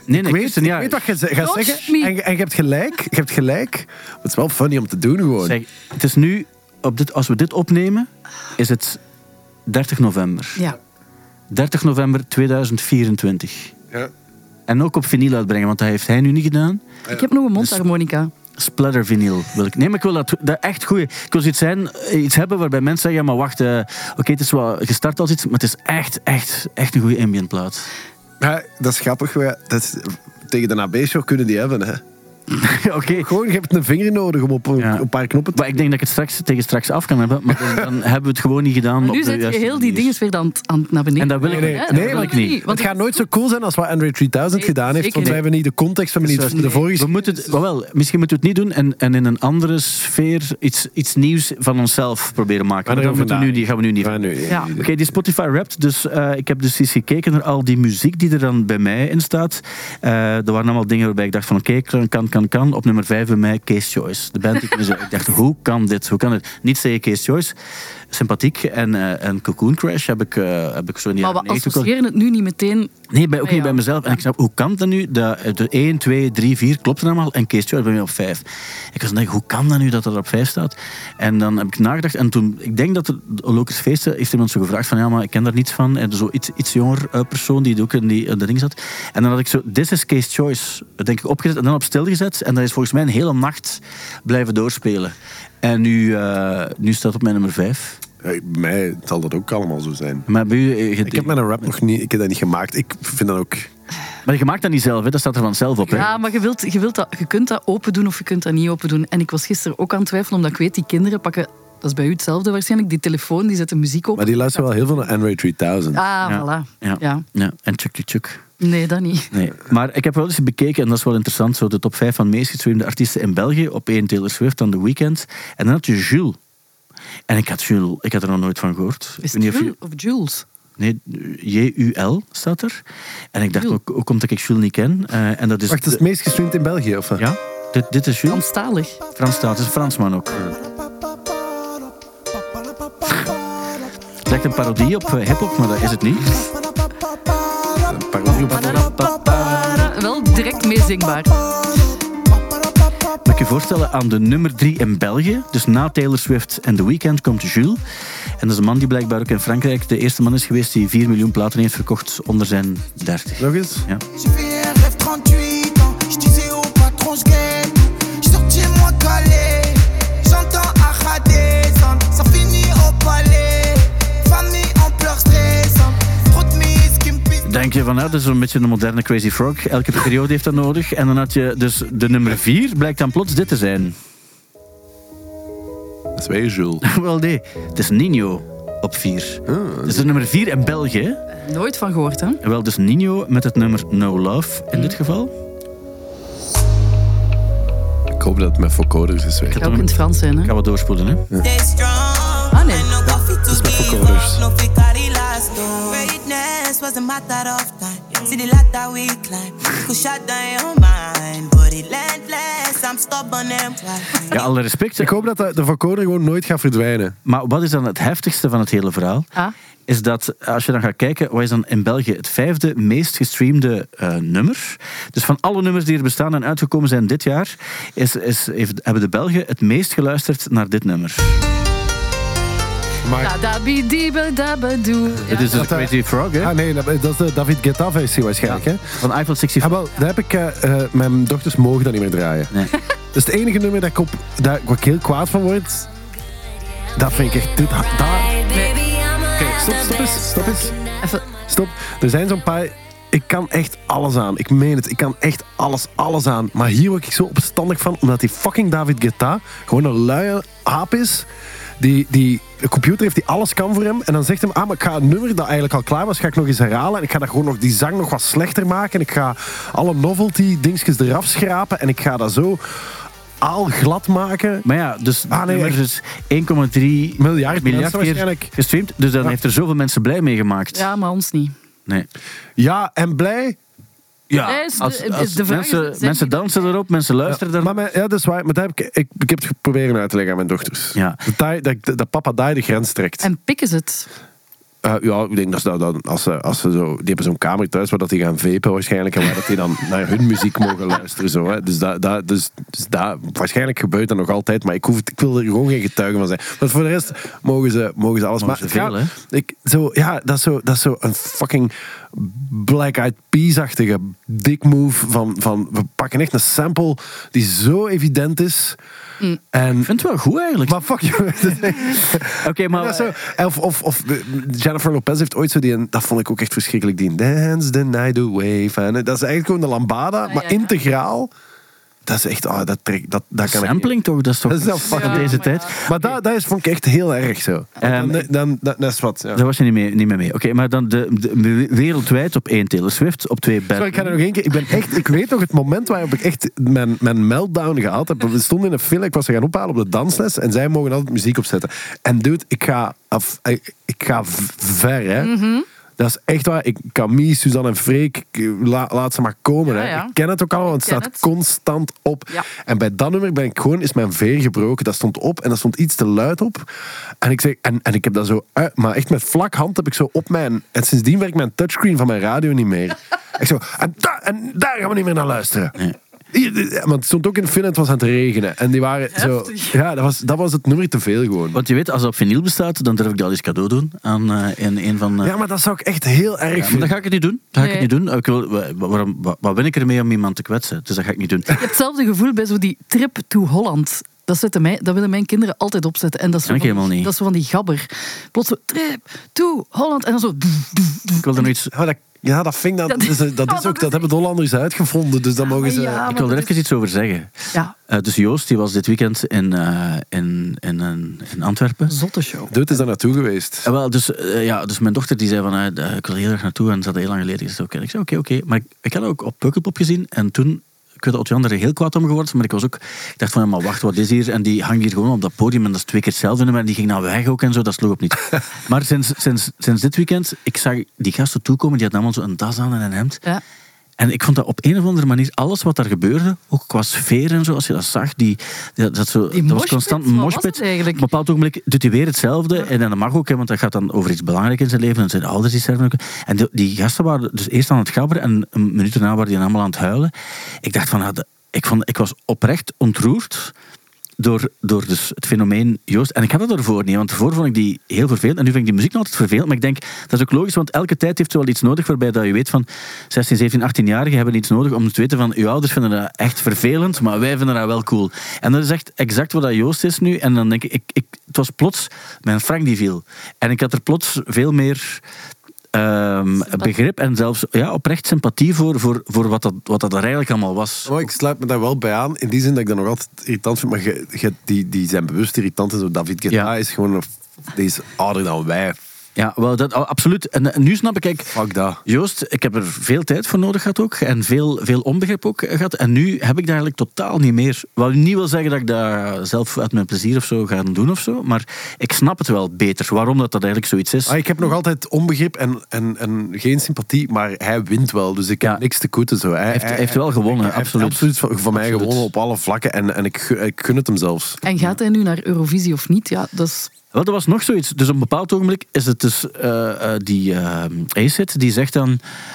Speaker 2: nee,
Speaker 4: ik weet,
Speaker 2: Kirsten,
Speaker 4: ik
Speaker 2: ja.
Speaker 4: weet wat je ze- gaat
Speaker 3: Touch
Speaker 4: zeggen.
Speaker 3: me.
Speaker 4: En, je- en je hebt gelijk, je hebt gelijk. Maar het is wel funny om te doen gewoon.
Speaker 2: Zeg, het is nu, op dit, als we dit opnemen, is het 30 november.
Speaker 3: Ja.
Speaker 2: 30 november 2024.
Speaker 4: Ja.
Speaker 2: En ook op vinyl uitbrengen, want dat heeft hij nu niet gedaan.
Speaker 3: Ik heb
Speaker 2: Dus-
Speaker 3: nog een mondharmonica.
Speaker 2: Splatter vinyl wil ik. Nee, maar ik wil dat, dat echt goeie. Ik wil zoiets, zijn, iets hebben waarbij mensen zeggen: ja, maar wacht, eh, oké, het is wel gestart als iets, maar het is echt, echt, echt een goede ambient plaat.
Speaker 4: Ja, dat is grappig. wij- Dat is, tegen de AB-show kunnen die hebben, hè.
Speaker 2: oké.
Speaker 4: Gewoon, je hebt een vinger nodig om op een,
Speaker 2: Ja.
Speaker 4: een paar knoppen te...
Speaker 2: Maar ik denk dat ik het straks, tegen straks af kan hebben, maar dan, dan hebben we het gewoon niet gedaan. op
Speaker 3: Nu
Speaker 2: de
Speaker 3: zet je
Speaker 2: juiste
Speaker 3: heel die
Speaker 2: manier.
Speaker 3: dingen weer aan, het- aan, het naar beneden.
Speaker 2: En dat wil ik
Speaker 3: brengen,
Speaker 2: niet.
Speaker 3: hè.
Speaker 2: Nee,
Speaker 3: Dat
Speaker 2: wil
Speaker 3: wil
Speaker 2: ik niet.
Speaker 3: Want
Speaker 4: het gaat nooit zo cool zijn als wat Android 3000
Speaker 3: Nee,
Speaker 4: gedaan heeft,
Speaker 3: zeker
Speaker 4: want we
Speaker 3: niet.
Speaker 4: hebben niet de context, Dus we hebben niet de vorige...
Speaker 2: We moeten het, wel, misschien moeten we het niet doen en, en in een andere sfeer iets, iets nieuws van onszelf proberen maken. Maar dat
Speaker 4: Maar daarover
Speaker 2: moeten we nu,
Speaker 4: nadenken.
Speaker 2: niet- gaan we nu niet
Speaker 4: Maar nu,
Speaker 3: Ja.
Speaker 2: Oké, die Spotify rapt. Dus eh, ik heb dus eens gekeken naar al die muziek die er dan bij mij in staat. Eh, er waren allemaal dingen waarbij ik dacht van oké, kan, kan, kan, kan. Op nummer 5 bij mij Case Choice. De band die ik nu zei. Ik dacht, hoe kan dit? Hoe kan dit? Niet zeggen Case Choice. Sympathiek. En, eh, en Cocoon Crash heb ik, eh, heb ik zo in de
Speaker 3: Maar we
Speaker 2: jaren 90 ook al-
Speaker 3: associëren het nu niet meteen.
Speaker 2: Nee, bij, ook
Speaker 3: bij
Speaker 2: niet bij
Speaker 3: jou.
Speaker 2: mezelf. En ik snap, hoe kan dat nu? Dat, eh, de 1, 2, 3, 4 klopt er allemaal. En Kees Stewart bij mij op 5. Ik was aan het denken, hoe kan dat nu dat dat er op 5 staat? En dan heb ik nagedacht. En toen, ik denk dat er Lokers Feesten, heeft iemand zo gevraagd van, ja, maar ik ken daar niets van. En zo iets, iets jonger eh, persoon die ook in die, in de ring zat. En dan had ik zo, this is Case Choice, denk ik, opgezet en dan op stil gezet. En dat is volgens mij een hele nacht blijven doorspelen. En nu, eh, nu staat het op mijn nummer 5.
Speaker 4: Hey, bij mij zal dat ook allemaal zo zijn.
Speaker 2: Maar bij u... eh, je-
Speaker 4: Ik heb mijn rap nog niet, ik heb dat niet gemaakt. Ik vind dat ook...
Speaker 2: Maar je maakt dat niet zelf, hè? dat staat er vanzelf op. Hè?
Speaker 3: Ja, maar je, wilt, je, wilt dat, je kunt dat open doen of je kunt dat niet open doen. En ik was gisteren ook aan het twijfelen, omdat ik weet, die kinderen pakken... Dat is bij u hetzelfde waarschijnlijk. Die telefoon, die zetten muziek op.
Speaker 4: Maar die luisteren wel heel veel naar Android 3000.
Speaker 3: Ah,
Speaker 2: Ja.
Speaker 3: voilà.
Speaker 2: Ja.
Speaker 3: Ja.
Speaker 2: Ja. En tjuk, tjuk, tjuk.
Speaker 3: Nee, dat niet.
Speaker 2: Nee. Maar ik heb wel eens bekeken, en dat is wel interessant, zo de top 5 van meest gestreamde artiesten in België. Op één Taylor Swift, dan The Weeknd. En dan had je Jules. En ik had Jules, ik had er nog nooit van gehoord. Ik
Speaker 3: Is
Speaker 2: weet
Speaker 3: het
Speaker 2: niet of je-
Speaker 3: Jules of Jules?
Speaker 2: Nee, J-U-L staat er. En ik dacht
Speaker 3: Jules.
Speaker 2: ook, ook omdat ik Jules niet ken. Eh, en dat is...
Speaker 4: Dus- Wacht, dat is het meest gestreamd in België, of wat?
Speaker 2: Ja, dit, dit is Jules.
Speaker 3: Franstalig.
Speaker 2: Frans staat, is een Fransman ook. Het lijkt een parodie op eh, hip-hop, maar dat is het niet. eh,
Speaker 4: Een parodie op-
Speaker 3: Para- Wel direct meezingbaar.
Speaker 2: Moet je je voorstellen aan de nummer 3 in België. Dus na Taylor Swift en The Weeknd komt Jules. En dat is een man die blijkbaar ook in Frankrijk de eerste man is geweest die 4 miljoen platen heeft verkocht onder zijn 30.
Speaker 4: Nog eens?
Speaker 2: Ja.
Speaker 5: J'ai fait un rêve 38 ans, je disais au patron je gagne Je sorti moi calé, j'entends Aradezan, ça finit au palais, famille en pleurs stressantes, trop de mises qui me pissent
Speaker 2: Denk je van, nou, dat is een beetje een moderne Crazy Frog. Elke periode heeft dat nodig. En dan had je dus de nummer 4 blijkt dan plots dit te zijn.
Speaker 4: Dat is weer Jules.
Speaker 2: Wel nee, het is Nino op 4.
Speaker 4: Ah,
Speaker 2: Dus de nummer 4 in België.
Speaker 3: Nooit van gehoord, hè?
Speaker 2: En Wel dus Nino met het nummer No Love in dit geval.
Speaker 4: Ik hoop dat het met vocoders is weer.
Speaker 3: Ga ook in het Frans zijn, hè?
Speaker 2: Gaan we doorspoelen, hè?
Speaker 6: Stay strong.
Speaker 3: Ah, nee.
Speaker 6: And no coffee to
Speaker 4: is met
Speaker 6: give
Speaker 4: vocoders.
Speaker 6: up. No Vicari last though. Greatness was a matter of time. See the ladder we climb. Could shut down your mind. But relentless. I'm stubborn and wild.
Speaker 2: Ja, alle respect.
Speaker 4: Ik hoop dat de- de vocoder gewoon nooit gaat verdwijnen.
Speaker 2: Maar wat is dan het heftigste van het hele verhaal?
Speaker 3: Ah.
Speaker 2: Is dat, als je dan gaat kijken, wat is dan in België het vijfde meest gestreamde eh, nummer? Dus van alle nummers die er bestaan en uitgekomen zijn dit jaar, is, is, heeft, hebben de Belgen het meest geluisterd naar dit nummer.
Speaker 4: Maar...
Speaker 3: Da, da, bi, di, ba, da, ba, doe. Ja.
Speaker 2: Dit is de
Speaker 4: Dat, eh,
Speaker 2: Crazy Frog, hè?
Speaker 4: Ah nee, dat dat is de David Guetta versie waarschijnlijk, hè?
Speaker 2: Van Eiffel
Speaker 4: Ah,
Speaker 2: 65.
Speaker 4: wel, daar heb ik... eh, eh, mijn dochters mogen dat niet meer draaien.
Speaker 2: Nee.
Speaker 4: Dat is het enige nummer dat ik op... Daar waar ik heel kwaad van word. Dat vind ik echt... Dit, dat... Kijk, stop, stop eens. Stop eens.
Speaker 3: Even,
Speaker 4: Stop. Er zijn zo'n paar... Ik kan echt alles aan. Ik meen het. Ik kan echt alles, alles aan. Maar hier word ik zo opstandig van, omdat die fucking David Guetta gewoon een luie aap is. Die, die de computer heeft die alles kan voor hem. En dan zegt hem, ah, maar ik ga een nummer dat eigenlijk al klaar was, ga ik nog eens herhalen. En ik ga dat gewoon nog, die zang nog wat slechter maken. En ik ga alle novelty dingetjes eraf schrapen. En ik ga dat zo aalglad maken.
Speaker 2: Maar ja, dus
Speaker 4: Ah,
Speaker 2: het
Speaker 4: nee,
Speaker 2: nummer
Speaker 4: echt.
Speaker 2: is 1,3
Speaker 4: Miljard
Speaker 2: miljard
Speaker 4: mensen
Speaker 2: keer
Speaker 4: waarschijnlijk.
Speaker 2: gestreamd. Dus dan heeft er zoveel mensen blij mee gemaakt.
Speaker 3: ja, maar ons niet.
Speaker 2: Nee.
Speaker 4: Ja, en blij.
Speaker 2: Ja,
Speaker 3: Nee, is de-
Speaker 2: als,
Speaker 3: is
Speaker 2: als
Speaker 3: de vraag is,
Speaker 2: mensen,
Speaker 3: zijn
Speaker 2: mensen
Speaker 3: die-
Speaker 2: dansen erop, mensen luisteren erop.
Speaker 4: Maar mijn- ja, dat is waar. Maar dat heb ik, ik, ik heb het proberen uit te leggen aan mijn dochters.
Speaker 2: Ja.
Speaker 4: Dat, daar- dat, dat papa daar de grens trekt.
Speaker 3: En pikken ze het.
Speaker 4: Eh, ja, ik denk dat ze dat dan, als ze, als ze zo, die hebben zo'n kamer thuis waar dat die gaan vepen waarschijnlijk en waar dat die dan naar hun muziek mogen luisteren. Zo, hè. Dus, dat, dat, dus, dus dat, waarschijnlijk gebeurt dat nog altijd, maar ik, hoef, het- ik wil er gewoon geen getuige van zijn. Want voor de rest mogen ze, mogen ze alles.
Speaker 2: Mogen ze
Speaker 4: maar het
Speaker 2: veel,
Speaker 4: gaat- ik, zo, ja, dat is zo, dat is zo een fucking Black Eyed Peas-achtige dick move van, van we pakken echt een sample die zo evident is. En,
Speaker 2: Ik vind het wel goed eigenlijk.
Speaker 4: maar fuck you.
Speaker 2: Oké, maar...
Speaker 4: Ja, zo. Of, of, of eh, Jennifer Lopez heeft ooit zo die, een- dat vond ik ook echt verschrikkelijk, die een Dance the Night Away. Van, eh, dat is eigenlijk gewoon de lambada, maar
Speaker 3: ja, ja.
Speaker 4: integraal. Dat is echt, ah dat, trek, dat, dat kan ik niet.
Speaker 2: Sampling toch? Dat is toch
Speaker 4: Dat is wel fucking-
Speaker 2: van deze
Speaker 3: Ja,
Speaker 2: tijd.
Speaker 3: maar
Speaker 4: Maar dat, dat is, vond ik echt heel erg zo.
Speaker 2: Ehm,
Speaker 4: dan, dan, dat- dat is wat. Ja.
Speaker 2: Daar was je niet mee, niet mee. mee. Oké, maar dan de, de- wereldwijd op één Taylor Swift, op twee Bad
Speaker 4: Sorry, ik ga er nog één keer. Ik, ben echt, ik weet nog het moment waarop ik echt mijn, mijn meltdown gehad heb. We stonden in een film, ik was ze gaan ophalen op de dansles en zij mogen altijd muziek opzetten. En dude, ik ga, af, ik, ik ga v- ver, hè.
Speaker 3: Mhm.
Speaker 4: Dat is echt waar. Ik, Camille, Suzanne en Freek, ik- la- laat ze maar komen.
Speaker 3: Ja,
Speaker 4: Hè.
Speaker 3: ja.
Speaker 4: Ik ken het ook allemaal, want het
Speaker 3: Ik ken
Speaker 4: staat
Speaker 3: het.
Speaker 4: constant op.
Speaker 3: Ja.
Speaker 4: En bij dat nummer ben ik gewoon, is mijn veer gebroken. Dat stond op en dat stond iets te luid op. En ik, zeg, en, en ik heb dat zo uit, maar echt met vlak hand heb ik zo op mijn. En sindsdien werkt mijn touchscreen van mijn radio niet meer. ik zo, en, da- en daar gaan we niet meer naar luisteren. Hier, dit- Want het stond ook in Finland, het was aan het regenen. En die waren
Speaker 3: Heftig.
Speaker 4: zo. Ja, dat was, dat was het nummer te veel gewoon.
Speaker 2: Want je weet, als dat op vinyl bestaat, dan durf ik dat eens cadeau doen aan eh, in een van... eh,
Speaker 4: Ja, maar dat zou ik echt heel erg
Speaker 2: ja, maar
Speaker 4: vinden.
Speaker 2: dat ga ik het niet doen. Dat ga ik het
Speaker 3: Nee.
Speaker 2: niet doen. Ik wil, wa- wa- waarom, wa- wat ben ik ermee om iemand te kwetsen? Dus dat ga ik niet doen.
Speaker 3: Je hebt hetzelfde gevoel bij zo die trip to Holland. Dat, zetten mij, dat willen mijn kinderen altijd opzetten. En dat is zo
Speaker 2: Ken ik
Speaker 3: van die-
Speaker 2: helemaal niet.
Speaker 3: Dat is zo van die gabber. Plots zo, trip to Holland. En dan zo...
Speaker 2: Ik wil er nog iets...
Speaker 3: Ah,
Speaker 4: Ja, maar dat Ja, dat vind ik dan.
Speaker 3: Dat-
Speaker 4: Dat, is, dat,
Speaker 3: Oh,
Speaker 4: is
Speaker 3: dat
Speaker 4: ook, dat hebben de Hollanders uitgevonden, dus dan mogen ze.
Speaker 3: Ja,
Speaker 2: Ik wil er
Speaker 3: maar
Speaker 2: even iets over zeggen.
Speaker 3: Ja,
Speaker 2: Eh, dus Joost die was dit weekend in, eh, in, in, in, in Antwerpen.
Speaker 3: zotte show.
Speaker 4: Doet is daar naartoe geweest.
Speaker 2: Eh, wel, dus, eh, ja, dus mijn dochter die zei van, eh, eh, ik wil er heel erg naartoe en ze had heel lang geleden gezegd, oké. En ik zei, oké, oké. Maar ik, ik had haar ook op Pukkelpop gezien en toen, ik weet dat Otjan er heel kwaad om geworden is, maar ik was ook, ik dacht van, ja, maar wacht, wat is hier? En die hangt hier gewoon op dat podium en dat is twee keer hetzelfde nummer en die ging naar weg ook en zo, dat sloeg op niet. maar sinds, sinds, sinds dit weekend, ik zag die gasten toekomen, die hadden allemaal zo'n das aan en een hemd.
Speaker 3: Ja.
Speaker 2: En ik vond dat op een of andere manier, alles wat daar gebeurde, ook qua sfeer en zo, als je dat zag, die, die- dat, zo,
Speaker 3: Die
Speaker 2: dat was
Speaker 3: moshpit,
Speaker 2: constant
Speaker 3: wat was
Speaker 2: moshpit.
Speaker 3: het eigenlijk?
Speaker 2: Op een bepaald ogenblik doet hij weer hetzelfde. En dat mag ook, hè, want dat gaat dan over iets belangrijks in zijn leven. En zijn ouders die sterven ook. En die, die gasten waren dus eerst aan het gabberen en een minuut daarna waren die allemaal aan het huilen. Ik dacht van, ah, de- ik, vond, ik was oprecht ontroerd door, door dus het fenomeen Joost. En ik had het ervoor niet, want daarvoor vond ik die heel vervelend. En nu vind ik die muziek nog altijd vervelend. Maar ik denk, dat is ook logisch, want elke tijd heeft ze wel iets nodig waarbij dat je weet van 16, 17, 18-jarigen hebben iets nodig om te weten van uw ouders vinden dat echt vervelend, maar wij vinden dat wel cool. En dat is echt exact wat dat Joost is nu. En dan denk ik, ik, ik het was plots mijn Frank die viel. En ik had er plots veel meer... ehm, begrip en zelfs ja, oprecht sympathie voor, voor, voor wat, dat, wat dat er eigenlijk allemaal was.
Speaker 4: Maar Oh, ik sluit me daar wel bij aan. In die zin dat ik dat nog altijd irritant vind. Maar ge- ge- die, die zijn bewust irritant. En zo. David Guetta
Speaker 2: Ja.
Speaker 4: is gewoon... een f- Die is ouder dan wij.
Speaker 2: Ja, wel, dat, oh, absoluut. En eh, nu snap ik, kijk,
Speaker 4: Fuck dat.
Speaker 2: Joost, ik heb er veel tijd voor nodig gehad ook. En veel, veel onbegrip ook gehad. En nu heb ik dat eigenlijk totaal niet meer. Wat niet wil zeggen dat ik dat zelf uit mijn plezier of zo ga doen of zo. Maar ik snap het wel beter, waarom dat, dat eigenlijk zoiets is.
Speaker 4: Ah, ik heb nog altijd onbegrip en, en, en geen sympathie, maar hij wint wel. Dus ik heb
Speaker 2: Ja.
Speaker 4: niks te koeten. Zo. Hij,
Speaker 2: heeft-
Speaker 4: hij-
Speaker 2: hij heeft wel gewonnen,
Speaker 4: hij heeft
Speaker 2: absoluut.
Speaker 4: absoluut van, van mij
Speaker 2: Absoluut.
Speaker 4: gewonnen op alle vlakken. En, en ik, gun- ik gun het hem zelfs.
Speaker 3: En gaat hij nu naar Eurovisie of niet? Ja, dat is...
Speaker 2: Wel, er was nog zoiets. Dus op een bepaald ogenblik is het dus eh, eh, die eh Acid die zegt dan...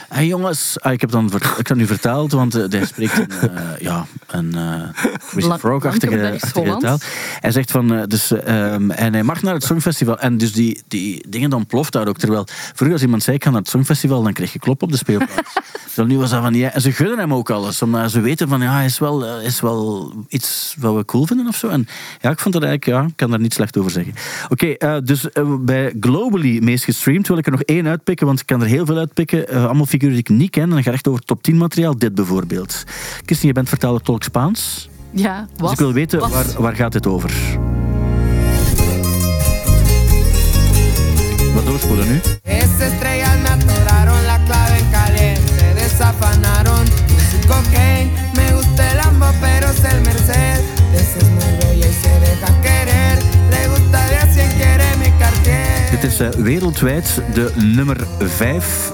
Speaker 2: Hé hey jongens, ah, ik heb dan ver- ik heb nu vertaald, want eh, hij spreekt een, eh, ja, een eh Chris
Speaker 3: Lang-
Speaker 2: Frog-achtige
Speaker 3: Lankenbergs
Speaker 2: achtige
Speaker 3: Hollands.
Speaker 2: taal. Hij zegt van... eh, dus, eh, ehm, en hij mag naar het Songfestival. En dus die, die dingen dan ploft daar ook. Terwijl vroeger als iemand zei ik ga naar het Songfestival, dan kreeg je klop op de speelplaats. Terwijl nu was dat van... Ja, en ze gunnen hem ook alles. Omdat ze weten van ja, hij is wel, eh, is wel iets wat we cool vinden of zo. En ja, ik vond dat eigenlijk... Ja, ik kan daar niet slecht over zeggen. Oké, eh, dus eh, bij Globally meest gestreamd wil ik er nog één uitpikken, want ik kan er heel veel uitpikken. Eh, allemaal figuren die ik niet ken. En dan gaat echt over top 10 materiaal. Dit bijvoorbeeld. Kirsten, je bent vertaler tolk Spaans.
Speaker 3: Ja, was.
Speaker 2: Dus ik wil weten,
Speaker 3: was.
Speaker 2: waar, waar gaat dit over? Wat doorspoelen nu?
Speaker 5: Esas estrellas me atoraron la clave en caliente, desafanaron su cocaine. Me gusta el ambo, pero es el merced. Esa es muy bella y se deja querer. Le gusta de a cien, quiere mi
Speaker 2: Dit
Speaker 5: cartier.
Speaker 2: is eh, wereldwijd de nummer 5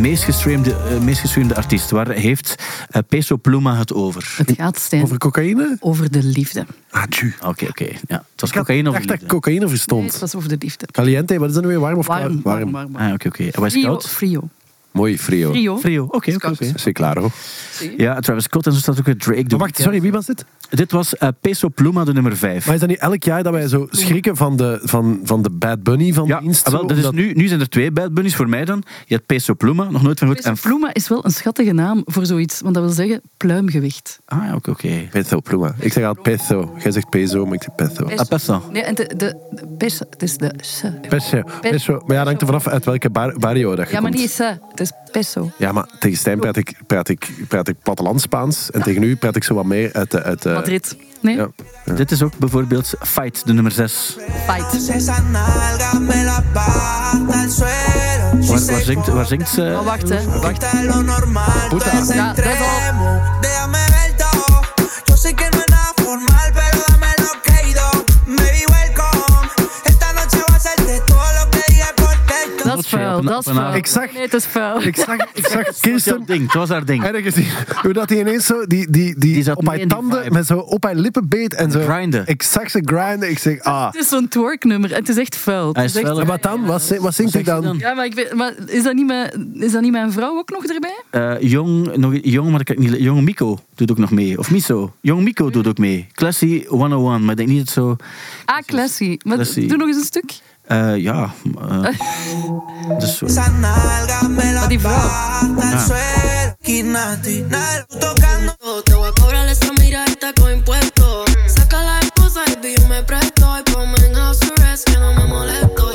Speaker 2: meest gestreamde, eh, meest gestreamde artiest. Waar heeft eh, Peso Pluma het over?
Speaker 3: Het gaat, Stijn,
Speaker 4: Over
Speaker 3: over,
Speaker 4: cocaïne?
Speaker 3: de liefde.
Speaker 4: Ah, tju.
Speaker 2: Oké, oké. Ja, het was cocaïne of
Speaker 4: Ik dacht dat ik
Speaker 2: liefde?
Speaker 4: cocaïne
Speaker 3: Nee,
Speaker 4: verstond.
Speaker 3: het was over de liefde.
Speaker 4: Caliente, wat is dat nu weer? Warm of koud?
Speaker 3: Warm, warm, warm. warm.
Speaker 2: Ah, oké, oké. En was het
Speaker 3: Frio,
Speaker 2: koud?
Speaker 3: Frio.
Speaker 4: Mooi, frio.
Speaker 3: Frio.
Speaker 2: Frio, oké, oké. oké.
Speaker 4: Is hij klaar, hoor.
Speaker 2: Ja, Travis Scott en zo staat ook weer Drake.
Speaker 4: Maar wacht, sorry, wie was dit?
Speaker 2: Dit was eh, Peso Pluma, de nummer 5.
Speaker 4: Maar is dat niet elk jaar dat wij zo schrikken van de, van, van de Bad Bunny van
Speaker 2: Ja,
Speaker 4: dienst?
Speaker 2: ah, wel,
Speaker 4: zo,
Speaker 2: dat is
Speaker 4: omdat-
Speaker 2: nu, nu zijn er twee Bad Bunnies voor mij dan. Je hebt Peso Pluma, nog nooit van goed.
Speaker 3: En Pluma is wel Dus een schattige naam voor zoiets, want dat wil zeggen pluimgewicht.
Speaker 2: Ah, ja, oké, oké.
Speaker 4: Peso, pluma. Ik zeg altijd peso. Jij zegt peso, maar ik zeg peso.
Speaker 2: Ah, peso.
Speaker 3: Nee, en de, de, de pers, het is de s.
Speaker 4: Peso, peso. Maar ja, dat hangt er vanaf uit welke bar- barrio dat je
Speaker 3: Ja, maar
Speaker 4: komt.
Speaker 3: niet s, het is peso.
Speaker 4: Ja, maar tegen Stijn praat ik, praat ik, praat ik plattelandspaans. En tegen u praat ik zo wat meer uit de... Uit de
Speaker 2: Eh,
Speaker 3: Madrid. Nee,
Speaker 4: Ja.
Speaker 2: Dit is ook bijvoorbeeld Fight, de nummer 6.
Speaker 3: fight.
Speaker 5: Esas nalgas me las baja hasta el suelo. Si
Speaker 2: Waar,
Speaker 5: se
Speaker 2: waar, zingt, waar zingt ze?
Speaker 3: Maar wacht, hè. Wacht.
Speaker 5: Está lo normal,
Speaker 4: Puta.
Speaker 5: todo es
Speaker 3: Ya, that's all.
Speaker 5: extremo. Déjame ver todo. Yo sé que no es nada formal, pero dame lo creído. Baby, welcome. Esta noche va a hacerte todo lo que diga por texto.
Speaker 3: Dat is
Speaker 2: Rotje op
Speaker 3: vuil,
Speaker 2: een-
Speaker 3: dat
Speaker 2: op
Speaker 3: is
Speaker 2: een
Speaker 3: vuil.
Speaker 2: avond.
Speaker 4: Ik zag-
Speaker 3: Nee, het is vuil.
Speaker 4: Ik zag, ik zag
Speaker 2: Dat was
Speaker 4: Kirsten...
Speaker 2: haar ding, het was haar ding.
Speaker 4: Ergens die, hoe dat hij ineens zo die, die, die,
Speaker 2: Die zat
Speaker 4: op
Speaker 2: mee
Speaker 4: haar
Speaker 2: in die
Speaker 4: tanden
Speaker 2: vibe.
Speaker 4: met zo op haar lippen beet en zo.
Speaker 2: Grinden.
Speaker 4: Ik zag ze grinden. Ik zeg, ah.
Speaker 3: Het is zo'n twerknummer. Het is echt vuil. Het
Speaker 2: Hij
Speaker 3: is
Speaker 2: is
Speaker 3: echt-
Speaker 2: vuil,
Speaker 4: En wat dan? Wat, zing- wat zingt hij
Speaker 2: Wat zegt
Speaker 4: dan?
Speaker 2: hij
Speaker 3: Ja, maar, ik weet, maar is, dat niet mijn, is dat niet mijn vrouw ook nog erbij?
Speaker 2: Eh, jong, nog, jong, maar ik kan het niet, jong Miko doet ook nog mee. Of Miso. Jong Miko doet ook mee. Classy 101, maar ik denk niet dat zo...
Speaker 3: Ah, Classy. Maar
Speaker 2: Classy.
Speaker 3: Doe nog eens een stuk.
Speaker 2: eh, ja. eh, dus, zo.
Speaker 5: Esas nalgas me las
Speaker 3: Body bro.
Speaker 5: baja hasta el suelo. Kinati, nal- tocando.
Speaker 7: Te voy a cobrar esa mira está con impuestos. Saca la esposa y yo me presto. Y ponme en house arrest que no me molesto.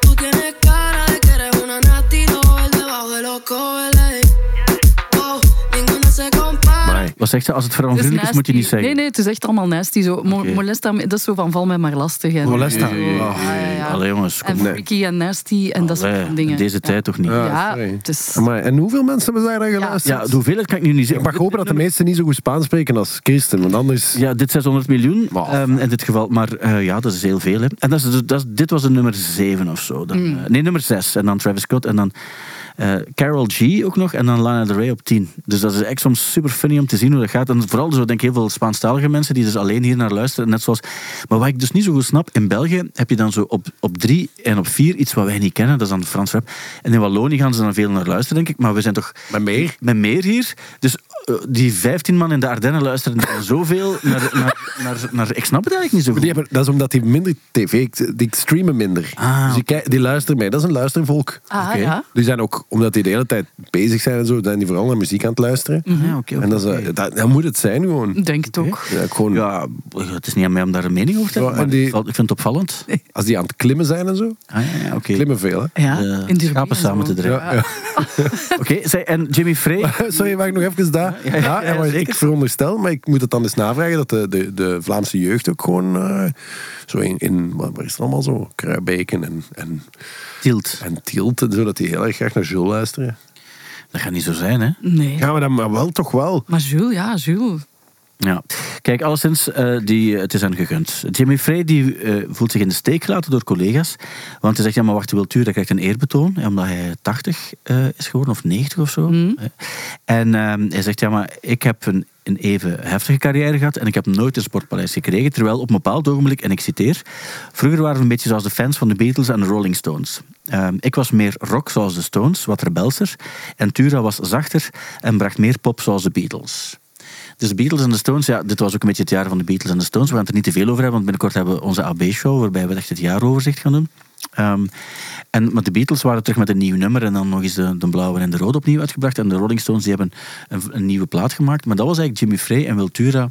Speaker 7: Tú tienes cara de que eres una nasty doll debajo de los
Speaker 2: Wat zegt ze? Als het
Speaker 3: Het
Speaker 2: vrouwenvriendelijk is, moet je niet
Speaker 3: nasty.
Speaker 2: zeggen.
Speaker 3: Nee, nee, het is echt allemaal nasty. Zo. Mo-
Speaker 2: Oké.
Speaker 3: Molesta, me- dat is zo van val mij maar lastig. En,
Speaker 4: Molesta.
Speaker 3: en zo.
Speaker 4: Oh.
Speaker 3: Ja, ja, ja.
Speaker 2: Allee jongens,
Speaker 3: En
Speaker 2: kom.
Speaker 4: Nee.
Speaker 3: freaky en nasty en dat soort
Speaker 2: Allee,
Speaker 3: van
Speaker 2: Ah, in
Speaker 3: dingen.
Speaker 2: deze
Speaker 3: Ja.
Speaker 2: tijd toch niet.
Speaker 4: Ja.
Speaker 2: Ja,
Speaker 3: Ja, dus-
Speaker 4: sorry.
Speaker 3: het is...
Speaker 4: Amai, en hoeveel mensen hebben daar dan geluisterd?
Speaker 2: de hoeveelheid kan ik nu niet
Speaker 4: Ik
Speaker 2: zeggen.
Speaker 4: mag hopen dat de meesten niet zo goed Spaans spreken als Christen, want anders...
Speaker 2: Ja, dit 600 miljoen
Speaker 4: Wow.
Speaker 2: ehm, in dit geval. Maar eh, ja, dat is heel veel. Hè. En dat is, dus- dat is- dit was de nummer 7 of zo. Dan, eh, nee, nummer 6. En dan Travis Scott. En dan eh, Carol G ook nog. En dan Lana Del Rey op 10. Dus dat is echt soms super funny om te zien hoe dat gaat. En vooral zo, denk ik, heel veel Spaanstalige mensen die dus alleen hier naar luisteren. Net zoals. Maar wat ik dus niet zo goed snap. In België heb je dan zo op, op 3 en op 4 iets wat wij niet kennen. Dat is dan Frans rap. En in Wallonië gaan ze dan veel naar luisteren, denk ik. Maar we zijn toch.
Speaker 4: Met meer?
Speaker 2: Met meer hier. Dus eh, die 15 man in de Ardennen luisteren dan zoveel naar, naar, naar, naar- Ik snap het eigenlijk niet zo
Speaker 4: Die
Speaker 2: goed.
Speaker 4: hebben, dat is omdat die minder tv, die streamen minder.
Speaker 2: Ah.
Speaker 4: Dus die, kijk- die luisteren mee. Dat is een luistervolk.
Speaker 3: Ah, ja.
Speaker 4: Die zijn ook, omdat die de hele tijd bezig zijn en zo, zijn die vooral naar muziek aan het luisteren.
Speaker 3: Mhm.
Speaker 2: Ja, oké, oké,
Speaker 4: En dat, is, eh,
Speaker 2: oké.
Speaker 4: dat, dat moet het zijn gewoon.
Speaker 3: Ik Denk het ook.
Speaker 4: Ja, gewoon
Speaker 2: Ja, het is niet aan mij om daar een mening over te
Speaker 4: Ja,
Speaker 2: hebben.
Speaker 4: en
Speaker 2: maar
Speaker 4: die-
Speaker 2: ik val- Ik vind het opvallend.
Speaker 4: Als die aan het klimmen zijn en zo.
Speaker 2: Ah, ja, ja, oké.
Speaker 4: Klimmen veel, hè?
Speaker 3: Ja,
Speaker 2: De
Speaker 3: in Durban
Speaker 2: schapen
Speaker 3: en
Speaker 2: samen
Speaker 3: zo.
Speaker 2: te drijven.
Speaker 4: Ja, ja.
Speaker 2: Oké, zij- en Jimmy Frey.
Speaker 4: Sorry, mag ik nog even daar? Ja, en wat
Speaker 2: zeker.
Speaker 4: ik veronderstel, maar ik moet het dan eens navragen, dat de, de, de Vlaamse jeugd ook gewoon eh, zo in, in, waar waar is het allemaal zo, Kruibeken en, en,
Speaker 2: Tilt.
Speaker 4: en Tielt en zo, dat die heel erg graag naar Jules luisteren.
Speaker 2: Dat gaat niet zo zijn, hè?
Speaker 3: Nee.
Speaker 4: Ja, maar dan maar wel toch wel.
Speaker 3: Maar Jules, ja, Jules.
Speaker 2: Ja. Kijk, alleszins, eh, die, het is aan gegund. Jimmy Frey die, eh, voelt zich in de steek gelaten door collega's. Want hij zegt, ja, maar wacht, wilt u, dat krijgt een eerbetoon. ja, Omdat hij 80 eh, is geworden, of 90 of zo. Eh, En ehm, hij zegt, ja, maar ik heb een, een even heftige carrière gehad. En ik heb nooit een sportpaleis gekregen. Terwijl op een bepaald ogenblik, en ik citeer... Vroeger waren we een beetje zoals de fans van de Beatles en de Rolling Stones. Ehm, ik was meer rock zoals de Stones, wat rebelser. En Tura was zachter en bracht meer pop zoals de Beatles. Dus de Beatles en de Stones, ja, dit was ook een beetje het jaar van de Beatles en de Stones. We gaan het er niet te veel over hebben, want binnenkort hebben we onze AB-show, waarbij we echt het jaaroverzicht gaan doen. Ehm, en, maar de Beatles waren terug met een nieuw nummer en dan nog eens de, de blauwe en de rode opnieuw uitgebracht. En de Rolling Stones die hebben een, een nieuwe plaat gemaakt. Maar dat was eigenlijk Jimmy Frey en Wiltura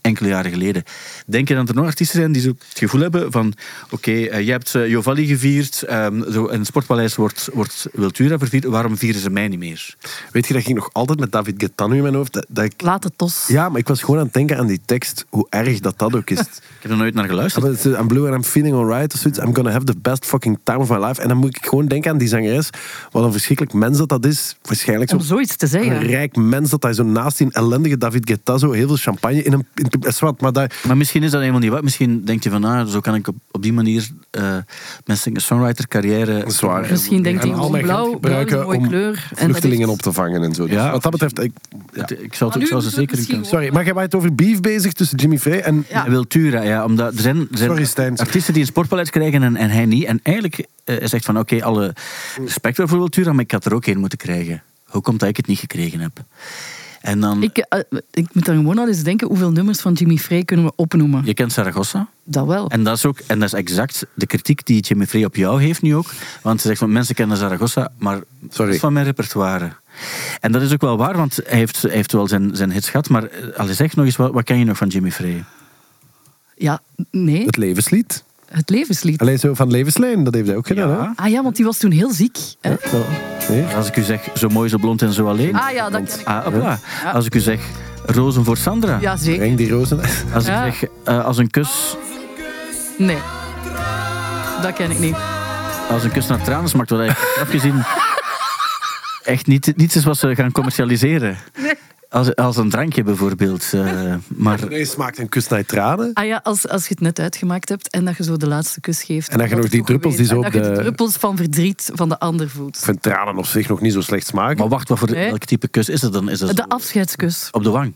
Speaker 2: enkele jaren geleden. Denk je dat er nog artiesten zijn die zo het gevoel hebben van... Oké, eh, je hebt eh, Jovalli gevierd, ehm, zo, in het Sportpaleis wordt, wordt Wiltura vervierd. Waarom vieren ze mij niet meer?
Speaker 4: Weet je, dat ging nog altijd met David Guetano in mijn hoofd. Dat, dat ik,
Speaker 3: Laat het los.
Speaker 4: ja, maar ik was gewoon aan het denken aan die tekst, hoe erg dat dat ook is. Ah,
Speaker 2: Ik heb er nooit naar geluisterd.
Speaker 4: Maar het is, I'm blue and I'm feeling alright of zoiets. I'm gonna have the best fucking time of my life. En dan moet ik gewoon denken aan die zangeres. Wat een verschrikkelijk mens dat dat is. Waarschijnlijk
Speaker 3: Om
Speaker 4: zo.
Speaker 3: zoiets te
Speaker 4: Een
Speaker 3: zeggen.
Speaker 4: rijk mens dat hij zo naast die ellendige David Guetta zo heel veel champagne in een... In, een- zwart, maar dat,
Speaker 2: Maar misschien is dat helemaal niet wat. Misschien denk je van, ah, zo kan ik op, op die manier eh mijn singer-songwriter carrière...
Speaker 4: Zwaar.
Speaker 3: Misschien denkt
Speaker 4: en
Speaker 3: hij,
Speaker 4: al mijn
Speaker 3: blauw-
Speaker 4: geld
Speaker 3: blauw is een
Speaker 4: gebruiken
Speaker 3: mooie
Speaker 4: om
Speaker 3: kleur. En dat
Speaker 4: vluchtelingen
Speaker 3: is-
Speaker 4: op te vangen en zo. Dus
Speaker 2: Ja.
Speaker 4: wat dat betreft... Ik,
Speaker 2: Het- Ik zou het,
Speaker 3: Maar
Speaker 2: ik zou
Speaker 3: nu
Speaker 2: ze
Speaker 3: moeten we
Speaker 2: zeker in
Speaker 3: misschien
Speaker 2: kunnen.
Speaker 4: sorry, maar jij was het over beef bezig tussen Jimmy Frey en...
Speaker 3: Ja.
Speaker 2: Wiltura, ja, omdat er zijn, er zijn
Speaker 4: Sorry, Stijn.
Speaker 2: artiesten die een sportpaleis krijgen en, en hij niet. En eigenlijk eh, hij zegt van, oké, alle respect wel voor Wiltura, maar ik had er ook één moeten krijgen. Hoe komt dat ik het niet gekregen heb? En dan,
Speaker 3: Ik, eh, ik moet daar gewoon al eens denken hoeveel nummers van Jimmy Frey kunnen we opnoemen.
Speaker 2: je kent Saragossa?
Speaker 3: Dat wel.
Speaker 2: En dat, is ook, en dat is exact de kritiek die Jimmy Frey op jou heeft nu ook. Want ze zegt van mensen kennen Zaragoza, maar dat
Speaker 4: Sorry.
Speaker 2: is van mijn repertoire. En dat is ook wel waar, want hij heeft, hij heeft wel zijn, zijn hits gehad. Maar eh, allee, zeg nog eens, wat, wat ken je nog van Jimmy Frey?
Speaker 3: Ja, nee,
Speaker 4: Het levenslied.
Speaker 3: het levenslied.
Speaker 4: Alleen zo van Levenslijn, dat heeft hij ook gedaan.
Speaker 2: Ja.
Speaker 3: Ah ja, want die was toen heel ziek. hè?
Speaker 4: Hè? Zo. Nee?
Speaker 2: Als ik u zeg, zo mooi, zo blond en zo alleen.
Speaker 3: Ah ja, dat ken ik.
Speaker 2: Ah, hopla. Als ik u zeg, rozen voor Sandra.
Speaker 3: Ja, zeker.
Speaker 4: Breng die rozen...
Speaker 2: Als ik
Speaker 3: Ja.
Speaker 2: zeg, eh, als een kus,
Speaker 3: Nee. Dat ken ik niet.
Speaker 2: als een kus naar tranen smaakt, wat eigenlijk afgezien echt niet, niets is wat ze gaan commercialiseren. Als, als een drankje bijvoorbeeld. eh, maar
Speaker 4: Nee, smaakt een kus naar tranen.
Speaker 3: Ah ja, als, als je het net uitgemaakt hebt en dat je zo de laatste kus geeft.
Speaker 4: En dat je nog die
Speaker 3: goed
Speaker 4: druppels die
Speaker 3: weet.
Speaker 4: zo
Speaker 3: En
Speaker 4: op
Speaker 3: dat je
Speaker 4: de-
Speaker 3: de druppels van verdriet van de ander voelt.
Speaker 4: Ik vind tranen op zich nog niet zo slecht smaken.
Speaker 2: Maar wacht, wat voor
Speaker 3: Nee.
Speaker 2: welk type kus is het dan? Is dat
Speaker 3: De
Speaker 2: zo-
Speaker 3: afscheidskus.
Speaker 2: op de wang?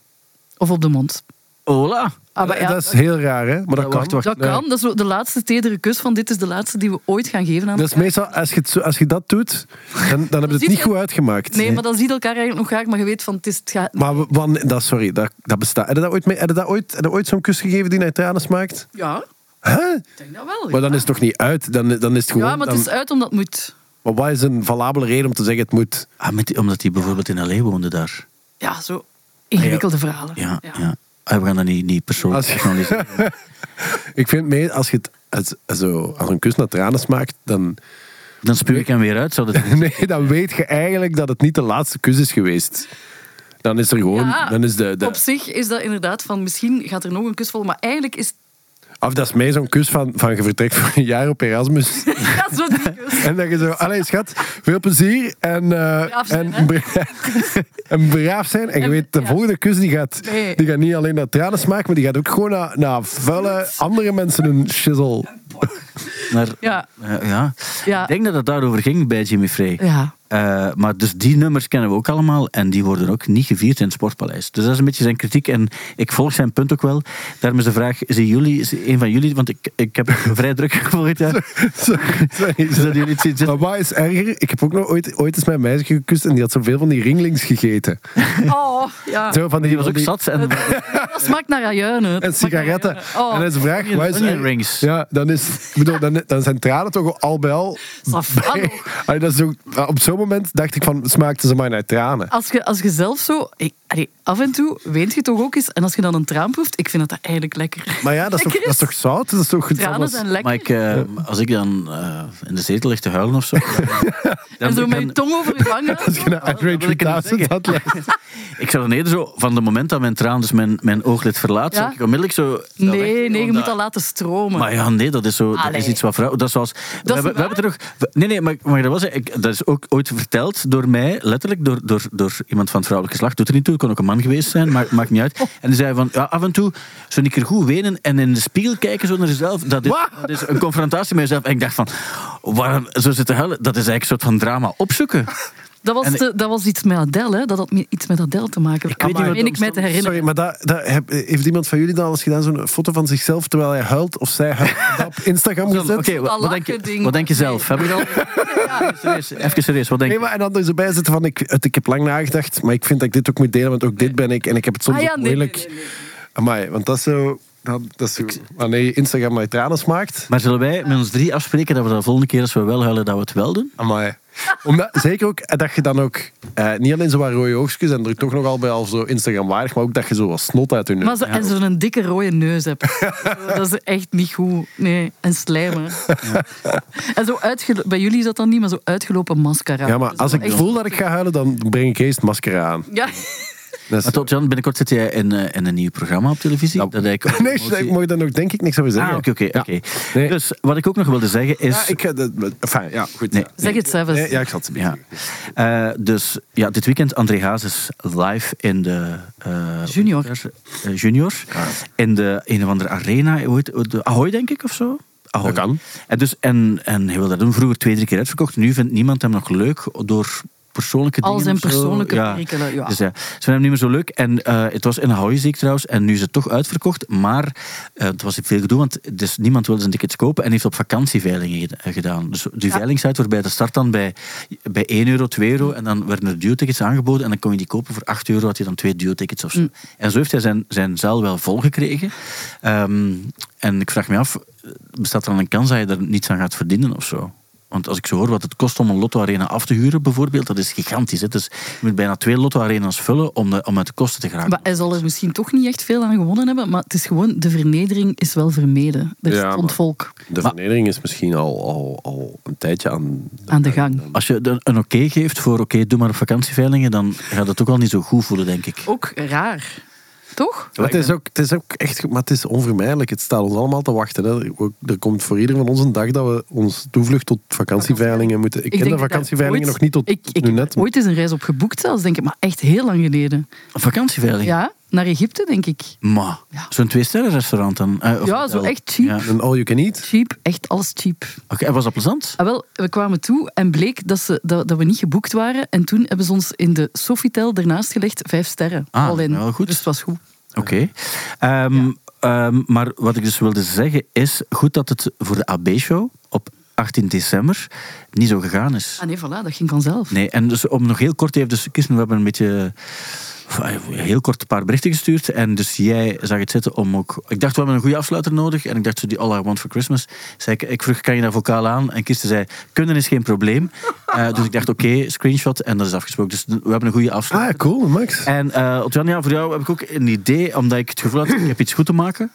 Speaker 3: Of op de mond.
Speaker 2: Hola!
Speaker 3: Ah, maar ja,
Speaker 4: dat is heel raar, hè? Maar dat,
Speaker 2: wacht,
Speaker 4: kan.
Speaker 2: wacht.
Speaker 3: dat
Speaker 4: Nee.
Speaker 3: kan. Dat is zo de laatste tedere kus van dit is de laatste die we ooit gaan geven aan
Speaker 4: Dat is Dus meestal, als je, het zo- als je dat doet, dan, dan heb je het
Speaker 3: ziet
Speaker 4: niet
Speaker 3: je-
Speaker 4: goed uitgemaakt.
Speaker 3: Nee, maar dan ziet elkaar eigenlijk nog graag, maar je weet van het is het gaat.
Speaker 4: Maar we- wan- dat, sorry, dat, dat bestaat. Heb je dat ooit, mee- heb je dat ooit, heb je ooit zo'n kus gegeven die naar tranen smaakt?
Speaker 3: Ja,
Speaker 4: Hè?
Speaker 3: ik denk dat wel.
Speaker 4: Maar dan is het toch niet uit? Dan, dan is het gewoon...
Speaker 3: ja, maar
Speaker 4: dan-
Speaker 3: het is eh, uit omdat het moet.
Speaker 4: maar wat is een valabele reden om te zeggen het moet?
Speaker 2: Ah, met die- omdat hij bijvoorbeeld in L.A. woonde daar.
Speaker 3: Ja,
Speaker 4: Ah
Speaker 3: zo ingewikkelde verhalen.
Speaker 2: Ja, ja. Ah, we gaan dat niet, niet persoonlijk
Speaker 4: Als je-
Speaker 2: personaliseren.
Speaker 4: Ik vind mee, als je het als, zo, als een kus naar tranen smaakt, dan...
Speaker 2: Dan spuw ik hem weer uit. Zou dat...
Speaker 4: Nee, dan weet je eigenlijk dat het niet de laatste kus is geweest. Dan is er gewoon...
Speaker 3: Ja,
Speaker 4: dan is de, de,
Speaker 3: Op zich is dat inderdaad van misschien gaat er nog een kus volgen, maar eigenlijk is
Speaker 4: Of dat is mij zo'n kus van, van je vertrekt voor een jaar op Erasmus.
Speaker 3: dat is wat die kus.
Speaker 4: en dat je zo... Allee, schat, veel plezier. En, eh,
Speaker 3: zijn, hè?
Speaker 4: en, bra- en braaf zijn. En je
Speaker 3: En-
Speaker 4: weet, de
Speaker 3: ja.
Speaker 4: volgende kus die gaat,
Speaker 3: Nee.
Speaker 4: die gaat niet alleen naar tranen smaken, maar die gaat ook gewoon naar, naar vuile andere mensen hun shizzle.
Speaker 2: Naar,
Speaker 3: Ja.
Speaker 2: Eh, ja.
Speaker 3: Ja.
Speaker 2: Ik denk dat het daarover ging bij Jimmy Frey.
Speaker 3: Ja.
Speaker 2: Eh, maar dus die nummers kennen we ook allemaal en die worden ook niet gevierd in het Sportpaleis. Dus dat is een beetje zijn kritiek en ik volg zijn punt ook wel. Daarom is de vraag, zien jullie, is een van jullie, want ik, ik heb het vrij druk volgend jaar.
Speaker 4: Sorry, sorry.
Speaker 2: Zouden jullie iets zien?
Speaker 4: Maar wat is erger? Ik heb ook nog ooit, ooit eens mijn meisje gekust en die had zoveel van die ringlings gegeten.
Speaker 3: Oh, ja.
Speaker 4: Zo van die,
Speaker 2: Die was
Speaker 4: van
Speaker 2: ook zat en
Speaker 3: Dat smaakt naar ajuinen. Dat
Speaker 4: En
Speaker 3: smaakt naar
Speaker 4: sigaretten.
Speaker 3: ajuinen. Oh,
Speaker 4: En dan is de vraag...
Speaker 2: Onion-
Speaker 4: wat is-
Speaker 2: onion rings.
Speaker 4: Ja, dan, is, ik bedoel, dan, dan zijn tranen toch al bij al...
Speaker 3: Safran.
Speaker 4: Allee, dat is ook- op zo'n moment dacht ik van, smaakten ze maar naar tranen.
Speaker 3: Als je, als je zelf zo... ik- allee, af en toe weet je toch ook eens... En als je dan een traan proeft, ik vind dat, dat eigenlijk lekker.
Speaker 4: Maar ja, dat is toch, dat is toch zout? Dat is toch...
Speaker 3: Tranen
Speaker 4: dat
Speaker 3: zijn
Speaker 4: was-
Speaker 3: lekker.
Speaker 2: Maar ik, eh, als ik dan eh, in de zetel lig te huilen of zo. dan,
Speaker 3: en zo met je
Speaker 2: dan-
Speaker 3: tong over je wangen.
Speaker 4: Als je naar Andre
Speaker 2: dat wil ik niet
Speaker 4: 3000 had...
Speaker 2: ik zou dan eerder zo, van het moment dat mijn traan dus mijn, mijn ooglid verlaat,
Speaker 3: Ja?
Speaker 2: zou ik onmiddellijk zo. dat weg-
Speaker 3: Nee, nee, je moet
Speaker 2: omdat-
Speaker 3: dat laten stromen.
Speaker 2: Maar ja, nee, dat is, zo, dat is
Speaker 3: Allee.
Speaker 2: iets wat vrouwen. Dat is zoals. we,
Speaker 3: niet
Speaker 2: hebben, we
Speaker 3: waar?
Speaker 2: hebben het er nog. Nee, nee, maar, maar dat, was, ik, dat is ook ooit verteld door mij, letterlijk door, door, door iemand van het vrouwelijk geslacht. Doet er niet toe, kon ook een man geweest zijn, maakt, maakt niet uit. En die zei van ja, af en toe zo een keer goed wenen en in de spiegel kijken zo naar jezelf. Dat is,
Speaker 4: Wat?
Speaker 2: dat is een confrontatie met jezelf. En ik dacht van, waarom zo zitten huilen? Dat is eigenlijk een soort van drama opzoeken.
Speaker 3: dat, was
Speaker 2: en-
Speaker 3: de- dat was iets met Adele, hè. Dat had me- iets met Adele te maken. Ik
Speaker 2: weet niet wat-
Speaker 3: meen ik mij te herinneren.
Speaker 4: Sorry, maar dat, dat heb- heeft iemand van jullie dan al eens gedaan? Zo'n foto van zichzelf terwijl hij huilt of zij huilt en dat op Instagram
Speaker 2: Oké,
Speaker 4: gezet?
Speaker 2: wat- wat,
Speaker 3: Dat
Speaker 2: denk je,
Speaker 3: lachgeding.
Speaker 2: wat denk je zelf? Heb je al... Serieus, Even serieus, wat denk
Speaker 4: Nee,
Speaker 2: je?
Speaker 4: maar en dan er zo bij zitten van, ik, het, ik heb lang nagedacht, maar ik vind dat ik dit ook moet delen, want ook dit ben ik en ik heb het soms
Speaker 3: Ah ja,
Speaker 4: ook
Speaker 3: nee, nee,
Speaker 4: moeilijk.
Speaker 3: nee,
Speaker 4: Amai, want dat is zo... Dat, dat is zo wanneer je Instagram naar je tranen smaakt.
Speaker 2: Maar zullen wij met ons drie afspreken dat we de volgende keer als we wel huilen, dat we het wel doen?
Speaker 4: Amai. Omdat, zeker ook eh, dat je dan ook eh, niet alleen zo wat rode oogstjes en er toch nogal bij al zo Instagram waardig, maar ook dat je zo wat snot uit hun
Speaker 3: Maar zo, en zo'n dikke rode neus hebt. Zo, dat is echt niet goed. Nee, en slijmen. En zo uitge- bij jullie is dat dan niet, maar zo uitgelopen mascara.
Speaker 4: Ja, maar
Speaker 3: Zo
Speaker 4: als ik
Speaker 3: echt-
Speaker 4: voel dat ik ga huilen, dan breng ik eerst het masker aan.
Speaker 3: Ja,
Speaker 4: Dat is-
Speaker 2: Maar tot Jan, binnenkort zit jij in, eh, in een nieuw programma op televisie.
Speaker 4: Ja.
Speaker 2: Dat ik
Speaker 4: Nou, nee, shit, ik mag daar nog denk ik niks over
Speaker 2: Ah,
Speaker 4: zeggen.
Speaker 2: oké, oké.
Speaker 4: Ja.
Speaker 2: oké.
Speaker 4: Nee.
Speaker 2: Dus wat ik ook nog wilde zeggen is...
Speaker 4: Ja, ik ga dat... Enfin, ja, goed.
Speaker 2: Nee.
Speaker 4: ja.
Speaker 3: zeg het zelf eens.
Speaker 4: Nee, ja, ik zat
Speaker 2: Ja. Eh, dus ja, dit weekend André Hazes live in de... eh,
Speaker 3: Junior.
Speaker 2: eh, junior.
Speaker 4: Ah.
Speaker 2: In de een of andere arena. Hoe heet het? De Ahoy, denk ik, of zo? Ahoy.
Speaker 4: Dat kan.
Speaker 2: En, dus, en, en hij wil dat doen. Vroeger twee, drie keer uitverkocht. Nu vindt niemand hem nog leuk door persoonlijke
Speaker 3: Al
Speaker 2: dingen.
Speaker 3: zijn
Speaker 2: of zo.
Speaker 3: persoonlijke
Speaker 2: ja.
Speaker 3: perikelen, ja.
Speaker 2: Dus ja, ze vinden hem niet meer zo leuk. En eh, het was in Ahoy, zie ik trouwens. En nu is het toch uitverkocht. Maar eh, het was veel gedoe, want dus niemand wilde zijn tickets kopen. En heeft op vakantieveilingen ged- eh, gedaan. Dus die veilingsite waarbij de start dan bij, bij 1 euro, 2 euro. En dan werden er duo-tickets aangeboden. En dan kon je die kopen voor 8 euro. Had je dan twee duo-tickets of zo.
Speaker 3: Mm.
Speaker 2: En zo heeft hij zijn, zijn zaal wel volgekregen. Ehm en ik vraag me af, eh, bestaat er dan een kans dat je er niets aan gaat verdienen of zo? Want als ik zo hoor wat het kost om een lotto-arena af te huren, bijvoorbeeld, dat is gigantisch. Hè? Dus je moet bijna twee lotto-arena's vullen om, de, om uit de kosten te geraken.
Speaker 3: Maar hij zal er misschien toch niet echt veel aan gewonnen hebben, maar het is gewoon, de vernedering is wel vermeden. Er
Speaker 4: Ja,
Speaker 3: stond
Speaker 4: maar-
Speaker 3: volk
Speaker 4: De vernedering is misschien al, al, al een tijdje aan...
Speaker 3: aan de gang.
Speaker 2: Als je de- een oké geeft voor oké, doe maar op vakantieveilingen, dan gaat het ook al niet zo goed voelen, denk ik.
Speaker 3: Ook raar. Toch?
Speaker 4: Maar het, is ook, het is ook echt... Maar het is onvermijdelijk. Het staat ons allemaal te wachten. Hè. Er, ook- er komt voor ieder van ons een dag dat we ons toevlucht tot vakantieveilingen moeten... Ik, ken
Speaker 3: denk
Speaker 4: de
Speaker 3: dat ik daar
Speaker 4: vakantieveilingen
Speaker 3: ooit-
Speaker 4: nog niet tot
Speaker 3: ik, ik
Speaker 4: nu
Speaker 3: heb
Speaker 4: net.
Speaker 3: er ooit eens een reis op geboekt zelfs, denk ik, maar echt heel lang geleden.
Speaker 2: Vakantieveilingen?
Speaker 3: Ja, naar Egypte, denk ik.
Speaker 2: Maar,
Speaker 3: Ja.
Speaker 2: zo'n twee-sterren-restaurant dan? eh, of
Speaker 3: Ja, zo
Speaker 2: hotel?
Speaker 3: echt cheap.
Speaker 2: Ja. Oké,
Speaker 4: Een all you can eat.
Speaker 3: Cheap, echt alles cheap.
Speaker 2: en was dat plezant?
Speaker 3: Ah, wel, we kwamen toe en bleek dat, ze, dat, dat we niet geboekt waren. En toen hebben ze ons in de Sofitel ernaast gelegd, vijf sterren.
Speaker 2: Ah,
Speaker 3: al in.
Speaker 2: wel goed.
Speaker 3: Dus het was goed.
Speaker 2: Oké. Ehm, ehm, maar wat ik dus wilde zeggen is, goed dat het voor de AB-show op 18 december niet zo gegaan is.
Speaker 3: Ah nee, voilà, dat ging vanzelf.
Speaker 2: Nee, en dus om nog heel kort even, dus Kirsten, we hebben een beetje heel kort een paar berichten gestuurd. En dus jij zag het zitten om ook. Ik dacht, we hebben een goede afsluiter nodig. En ik dacht, zo die All I Want for Christmas. Zei ik, ik vroeg, kan je dat vocaal aan? En Kirsten zei, kunnen is geen probleem. Eh, dus ik dacht, oké, screenshot. En dat is afgesproken. Dus we hebben een goede afsluiter.
Speaker 4: Ah, cool, Max.
Speaker 2: En eh Otjan, ja, voor jou heb ik ook een idee, omdat ik het gevoel had, ik heb iets goed te maken.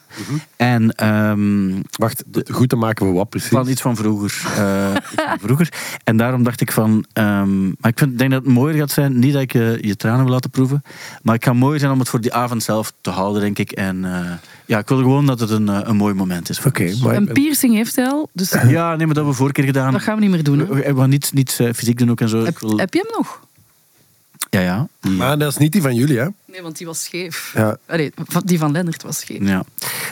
Speaker 2: En ehm,
Speaker 4: Wacht, goed te maken voor wat
Speaker 2: van
Speaker 4: precies?
Speaker 2: iets van vroeger. eh, iets van vroeger. En daarom dacht ik van... ehm, maar ik vind, denk dat het mooier gaat zijn. Niet dat ik je, je eh, tranen wil laten proeven. Maar ik ga mooi zijn om het voor die avond zelf te houden, denk ik. En eh, ja, ik wil gewoon dat het een, eh, een mooi moment is. voor
Speaker 4: Oké,
Speaker 2: ons.
Speaker 4: maar-
Speaker 3: Een piercing heeft hij al, dus
Speaker 2: Ja, nee, maar dat hebben we vorige keer gedaan.
Speaker 3: dat gaan we niet meer doen. hè.
Speaker 2: We- we gaan niet, niet eh, fysiek doen ook en zo. Ik
Speaker 3: Heb,
Speaker 2: wil-
Speaker 3: heb je hem nog?
Speaker 2: Ja, ja. Die-
Speaker 4: Maar dat is niet die van jullie, hè?
Speaker 3: Nee, want die was scheef.
Speaker 4: Ja.
Speaker 3: Allee, van- die van Lennart was scheef.
Speaker 2: Ja.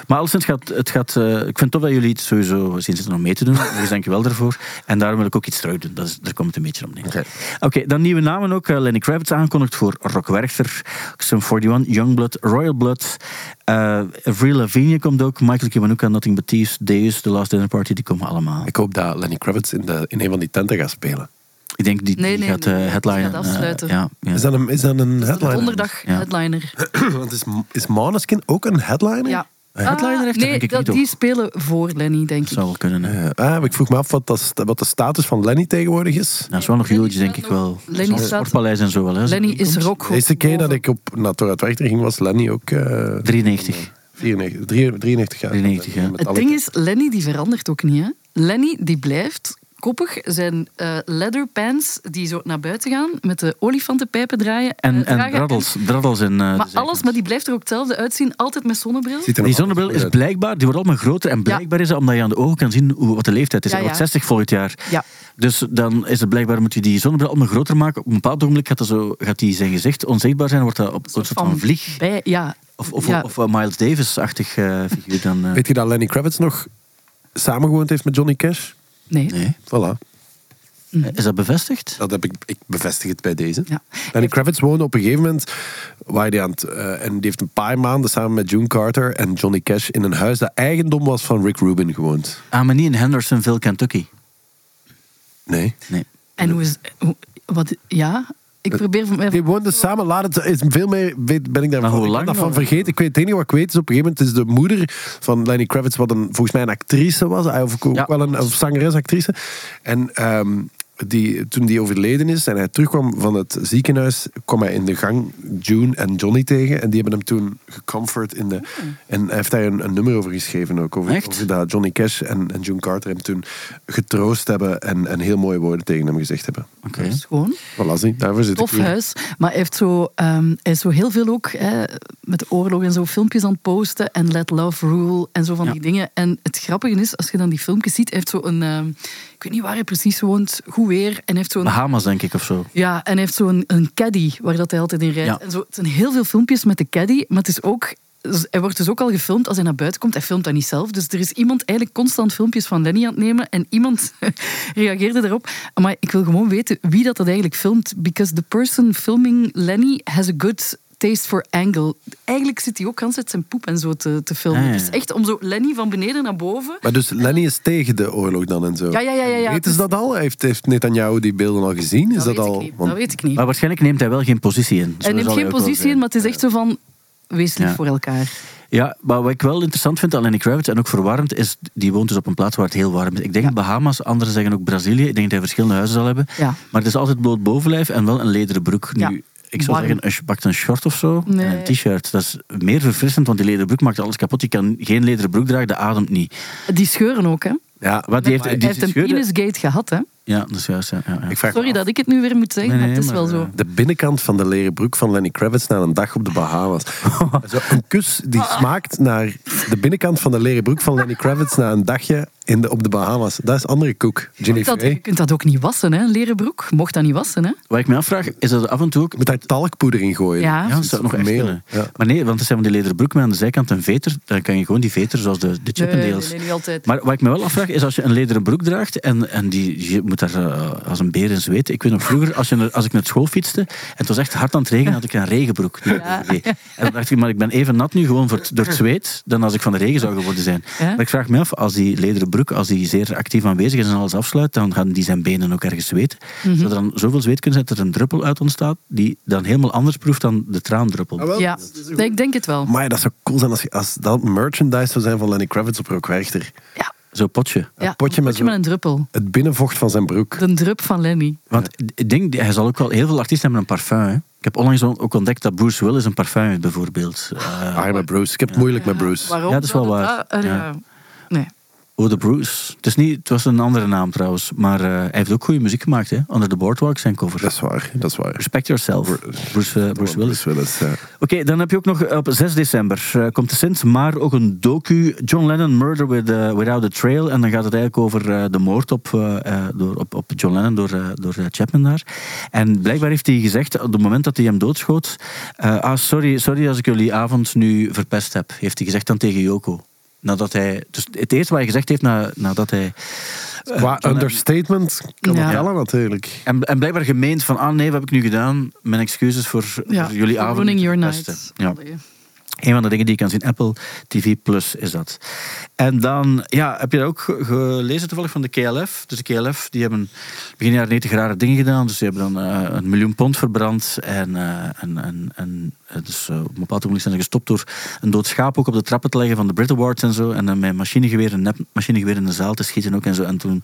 Speaker 2: Maar alleszins, het gaat, het gaat, eh, ik vind het tof dat jullie het sowieso zien zitten om mee te doen. Dus dank je wel daarvoor. En daarom wil ik ook iets terug doen. Dat is, daar komt het een beetje om neer. Oké, dan nieuwe namen ook. Eh, Lenny Kravitz aangekondigd voor Rock Werchter, Sum 41, Youngblood, Royal Blood. eh Avril Lavigne komt ook. Michael Kiwanuka, Nothing But Thieves, Deus, The Last Dinner Party, die komen allemaal.
Speaker 4: Ik hoop dat Lenny Kravitz in, de, in een van die tenten gaat spelen.
Speaker 2: Ik denk die,
Speaker 3: Nee,
Speaker 2: die
Speaker 3: nee,
Speaker 2: gaat eh
Speaker 3: nee, die
Speaker 2: headline.
Speaker 3: gaat afsluiten.
Speaker 2: eh, ja, ja.
Speaker 4: Is dat een, is dat een
Speaker 3: Dat is
Speaker 4: headliner?
Speaker 3: een donderdag
Speaker 2: Ja.
Speaker 3: headliner.
Speaker 4: Want is, is Maneskin ook een headliner?
Speaker 3: Ja.
Speaker 2: headliner heeft
Speaker 3: Ah,
Speaker 2: er
Speaker 3: nee,
Speaker 2: denk ik
Speaker 3: dat,
Speaker 2: niet op.
Speaker 3: die spelen voor Lenny, denk
Speaker 2: Dat
Speaker 3: ik.
Speaker 2: zou wel kunnen. hè.
Speaker 4: Eh, ah, ik vroeg me af wat, dat, st- wat de status van Lenny tegenwoordig is.
Speaker 2: Dat is wel nog
Speaker 3: Lenny
Speaker 2: huge, denk
Speaker 3: staat
Speaker 2: ik wel.
Speaker 3: nog- Lenny
Speaker 2: Zo'n
Speaker 3: staat-
Speaker 2: Sportpaleis en zo wel. Hè.
Speaker 3: Lenny is rock.
Speaker 4: De eerste keer dat ik op Natura Werchter ging, was Lenny ook eh
Speaker 2: 93.
Speaker 4: 94, 93 jaar.
Speaker 2: 93, ja.
Speaker 4: Met
Speaker 3: Het
Speaker 4: alle-
Speaker 3: ding is, Lenny die verandert ook niet. Hè? Lenny die blijft koppig. Zijn eh leather pants die zo naar buiten gaan met de olifantenpijpen draaien. eh,
Speaker 2: En, en
Speaker 3: dragen.
Speaker 2: draddels, draddels en... eh, de
Speaker 3: Maar
Speaker 2: zijkant.
Speaker 3: alles, maar die blijft er ook hetzelfde uitzien. Altijd met zonnebril.
Speaker 4: Ziet er
Speaker 2: Die
Speaker 4: nog
Speaker 2: zonnebril
Speaker 4: altijd
Speaker 2: is
Speaker 4: goed
Speaker 2: blijkbaar, die wordt allemaal groter en blijkbaar is dat omdat je aan de ogen kan zien hoe, wat de leeftijd is.
Speaker 3: Ja,
Speaker 2: Hij wordt
Speaker 3: ja.
Speaker 2: 60 volgend jaar.
Speaker 3: Ja.
Speaker 2: Dus dan is het blijkbaar, moet je die zonnebril allemaal groter maken. Op een bepaald ogenblik gaat, dat zo, gaat die zijn gezicht onzichtbaar zijn en wordt dat op een soort van vlieg.
Speaker 3: bij- ja.
Speaker 2: Of, of,
Speaker 3: ja.
Speaker 2: of, eh, Miles Davis-achtig eh, figuur dan. eh.
Speaker 4: uit. Weet je dat Lenny Kravitz nog samengewoond heeft met Johnny Cash?
Speaker 3: nee.
Speaker 2: nee.
Speaker 4: Voilà.
Speaker 3: Mhm.
Speaker 2: Is dat bevestigd?
Speaker 4: Dat heb ik, ik bevestig het bij deze.
Speaker 3: Ja.
Speaker 4: Lenny Kravitz woonde op een gegeven moment waar die aan het, eh, en die heeft een paar maanden samen met June Carter en Johnny Cash in een huis dat eigendom was van Rick Rubin gewoond.
Speaker 2: Ah, maar niet in Hendersonville, Kentucky.
Speaker 4: Nee.
Speaker 2: Nee.
Speaker 3: En hoe is. Hoe, wat, ja, ik probeer van mij.
Speaker 4: Die woonden dus samen, laat het, is veel meer weet, ben ik daarvan,
Speaker 2: Maar hoe
Speaker 4: ik ben
Speaker 2: lang
Speaker 4: daarvan
Speaker 2: nog?
Speaker 4: vergeten. Ik weet, het enige wat ik weet is op een gegeven moment is de moeder van Lenny Kravitz, wat een, volgens mij een actrice was, of ook
Speaker 2: Ja.
Speaker 4: wel een of zangeres-actrice. En ehm, die, toen die overleden is en hij terugkwam van het ziekenhuis, kwam hij in de gang June en Johnny tegen. En die hebben hem toen gecomfort in de... En hij heeft daar een, een nummer over geschreven ook. Over,
Speaker 2: Hmm. Echt?
Speaker 4: over dat Johnny Cash en, en June Carter hem toen getroost hebben en, en heel mooie woorden tegen hem gezegd hebben.
Speaker 2: Oké.
Speaker 3: Schoon.
Speaker 4: Voilà, zie, daarvoor zit
Speaker 3: Tof
Speaker 4: ik hier.
Speaker 3: huis. Maar hij, heeft zo, ehm, hij is zo heel veel ook hè, met de oorlog en zo filmpjes aan het posten. En Let Love Rule en zo van
Speaker 2: Ja.
Speaker 3: die dingen. En het grappige is, als je dan die filmpjes ziet, hij heeft zo een. ehm, ik weet niet waar hij precies woont, goed weer. En hij heeft zo'n.
Speaker 2: Bahamas, denk ik, of zo.
Speaker 3: Ja, en hij heeft zo'n een caddy waar dat hij altijd in rijdt.
Speaker 2: Ja.
Speaker 3: En zo, het zijn heel veel filmpjes met de caddy, maar het is ook. dus Hij wordt dus ook al gefilmd als hij naar buiten komt. Hij filmt dat niet zelf. Dus er is iemand eigenlijk constant filmpjes van Lenny aan het nemen. En iemand reageerde daarop. Maar ik wil gewoon weten wie dat, dat eigenlijk filmt. Because the person filming Lenny has a good taste for angle. Eigenlijk zit hij ook aan zijn poep en zo te, te filmen.
Speaker 2: Ah, Ja, ja, ja.
Speaker 3: Dus echt om zo Lenny van beneden naar boven.
Speaker 4: Maar dus Lenny is tegen de oorlog dan en zo.
Speaker 3: Ja, ja, ja, ja, ja.
Speaker 4: Weten ze dat al? Heeft, heeft Netanyahu die beelden al gezien? Is dat,
Speaker 3: dat, weet
Speaker 4: al?
Speaker 3: ik niet.
Speaker 4: want- Ah,
Speaker 3: dat weet ik niet.
Speaker 2: Maar waarschijnlijk neemt hij wel geen positie in. Zo
Speaker 3: Hij neemt
Speaker 2: zal
Speaker 3: geen
Speaker 2: ook wel
Speaker 3: positie
Speaker 2: zijn.
Speaker 3: in, maar het is echt zo van... Wees lief
Speaker 2: Ja.
Speaker 3: voor elkaar.
Speaker 2: Ja, maar wat ik wel interessant vind aan Lenny Kravitz en ook verwarrend is, die woont dus op een plaats waar het heel warm is. Ik denk Bahamas, anderen zeggen ook Brazilië. Ik denk dat hij verschillende huizen zal hebben.
Speaker 3: Ja.
Speaker 2: Maar het is altijd bloot bovenlijf en wel een lederen broek.
Speaker 3: Ja.
Speaker 2: Nu, ik zou
Speaker 3: Warm.
Speaker 2: zeggen, als je pakt een short of zo
Speaker 3: Nee.
Speaker 2: en een t-shirt. Dat is meer verfrissend, want die lederen broek maakt alles kapot. Je kan geen lederen broek dragen, dat ademt niet.
Speaker 3: Die scheuren ook, hè?
Speaker 4: Ja,
Speaker 2: Wat die heeft, die
Speaker 3: Hij heeft een
Speaker 2: scheuren-
Speaker 3: penisgate gehad, hè?
Speaker 2: Ja, dat is juist. Ja, ja, ja.
Speaker 4: ik vraag me
Speaker 3: Sorry
Speaker 4: af,
Speaker 3: dat ik het nu weer moet zeggen,
Speaker 2: Nee,
Speaker 3: maar het is
Speaker 2: nee,
Speaker 3: wel
Speaker 2: maar,
Speaker 3: zo.
Speaker 2: eh,
Speaker 4: De binnenkant van de leren broek van Lenny Kravitz na een dag op de Bahamas. Zo, een kus die smaakt naar de binnenkant van de leren broek van Lenny Kravitz na een dagje in de, op de Bahamas. Dat is andere koek. Jenny
Speaker 3: Dat, je
Speaker 4: Frey.
Speaker 3: kunt dat ook niet wassen, hè? Een leren broek. Mocht dat niet wassen, hè?
Speaker 2: Wat ik me afvraag, is dat af en toe ook...
Speaker 4: Je moet daar talkpoeder in gooien.
Speaker 3: Ja.
Speaker 2: Ja, dat zou nog echt
Speaker 4: Meel,
Speaker 2: kunnen.
Speaker 4: ja.
Speaker 2: Maar nee, want er zijn van die lederen broek met aan de zijkant een veter. Dan kan je gewoon die veter, zoals de, de Chippendales.
Speaker 3: nee, nee, niet altijd.
Speaker 2: Maar wat ik me wel afvraag, is als je een lederen broek draagt... en, en die, je moet daar eh, als een beer in zweten. Ik weet nog vroeger, als, je, naar- als ik naar school fietste... en het was echt hard aan het regenen, had ik een regenbroek. die ik overdeed. En dan dacht ik, maar ik ben even nat nu gewoon voor het, door het zweet... dan als ik van de regen zou geworden zijn.
Speaker 3: Ja.
Speaker 2: Maar ik vraag me af, als die lederen broek... als die zeer actief aanwezig is en alles afsluit... dan gaan die zijn benen ook ergens zweten. Zodat er dan zoveel zweet kunnen zijn dat er een druppel uit ontstaat... die dan helemaal anders proeft dan de traandruppel.
Speaker 4: Ah, wel,
Speaker 3: Ja, Nee, ik denk het wel.
Speaker 4: Maar ja, dat zou cool zijn als, je- als dat merchandise zou zijn van Lenny Kravitz op Rock Werchter.
Speaker 3: Ja,
Speaker 2: Zo'n potje.
Speaker 3: ja.
Speaker 4: potje met zo-
Speaker 3: een druppel.
Speaker 4: Het binnenvocht van zijn broek.
Speaker 3: Een drup van Lenny.
Speaker 2: Want ik denk, hij zal ook wel heel veel artiesten hebben een parfum. Hè? Ik heb onlangs ook ontdekt dat Bruce Willis een parfum heeft, bijvoorbeeld. Eh,
Speaker 4: Arme Bruce. Ik heb het moeilijk met Bruce.
Speaker 3: Waarom?
Speaker 2: Ja, dat is wel
Speaker 3: zou
Speaker 2: waar.
Speaker 3: dat- ah, eh,
Speaker 2: Ja.
Speaker 3: Nee.
Speaker 2: Hoe Oh, de Bruce. Het, is niet, het was een andere naam trouwens, maar eh, hij heeft ook goede muziek gemaakt, hè? Under the Boardwalk, zijn cover.
Speaker 4: Dat is waar, dat is waar.
Speaker 2: Respect Yourself, Bruce, eh, Bruce Willis.
Speaker 4: Willis, ja.
Speaker 2: Oké, dan heb je ook nog eh, op 6 december eh, komt de Sint, maar ook een docu John Lennon Murder with, eh, Without a Trail. En dan gaat het eigenlijk over eh, de moord op, eh, eh, door, op, op John Lennon door, eh, door eh, Chapman daar. En blijkbaar heeft hij gezegd, op het moment dat hij hem doodschoot, eh, ah, sorry, sorry als ik jullie avond nu verpest heb, heeft hij gezegd dan tegen Yoko. Nadat hij, dus het eerste wat hij gezegd heeft na, nadat hij
Speaker 4: Qua understatement kan
Speaker 3: Ja.
Speaker 4: het tellen natuurlijk.
Speaker 2: en, en blijkbaar gemeend van, ah nee, wat heb ik nu gedaan? Mijn excuses voor, voor Dus jullie avond.
Speaker 3: Ruining Your
Speaker 2: verpesten.
Speaker 3: Night.
Speaker 2: Ja.
Speaker 3: Allee.
Speaker 2: Een van de dingen die je kan zien, Apple TV Plus is dat. En dan, ja, heb je dat ook ge- gelezen toevallig van de KLF? Dus de KLF, die hebben begin jaren 90 rare dingen gedaan. Dus ze hebben dan eh, een miljoen pond verbrand. En, eh, en, en, en eh, dus, eh, op een bepaald moment zijn ze gestopt door een dood schaap ook op de trappen te leggen van de Brit Awards en zo. En dan met machinegeweer, een nep machinegeweer in de zaal te schieten ook en zo. En toen,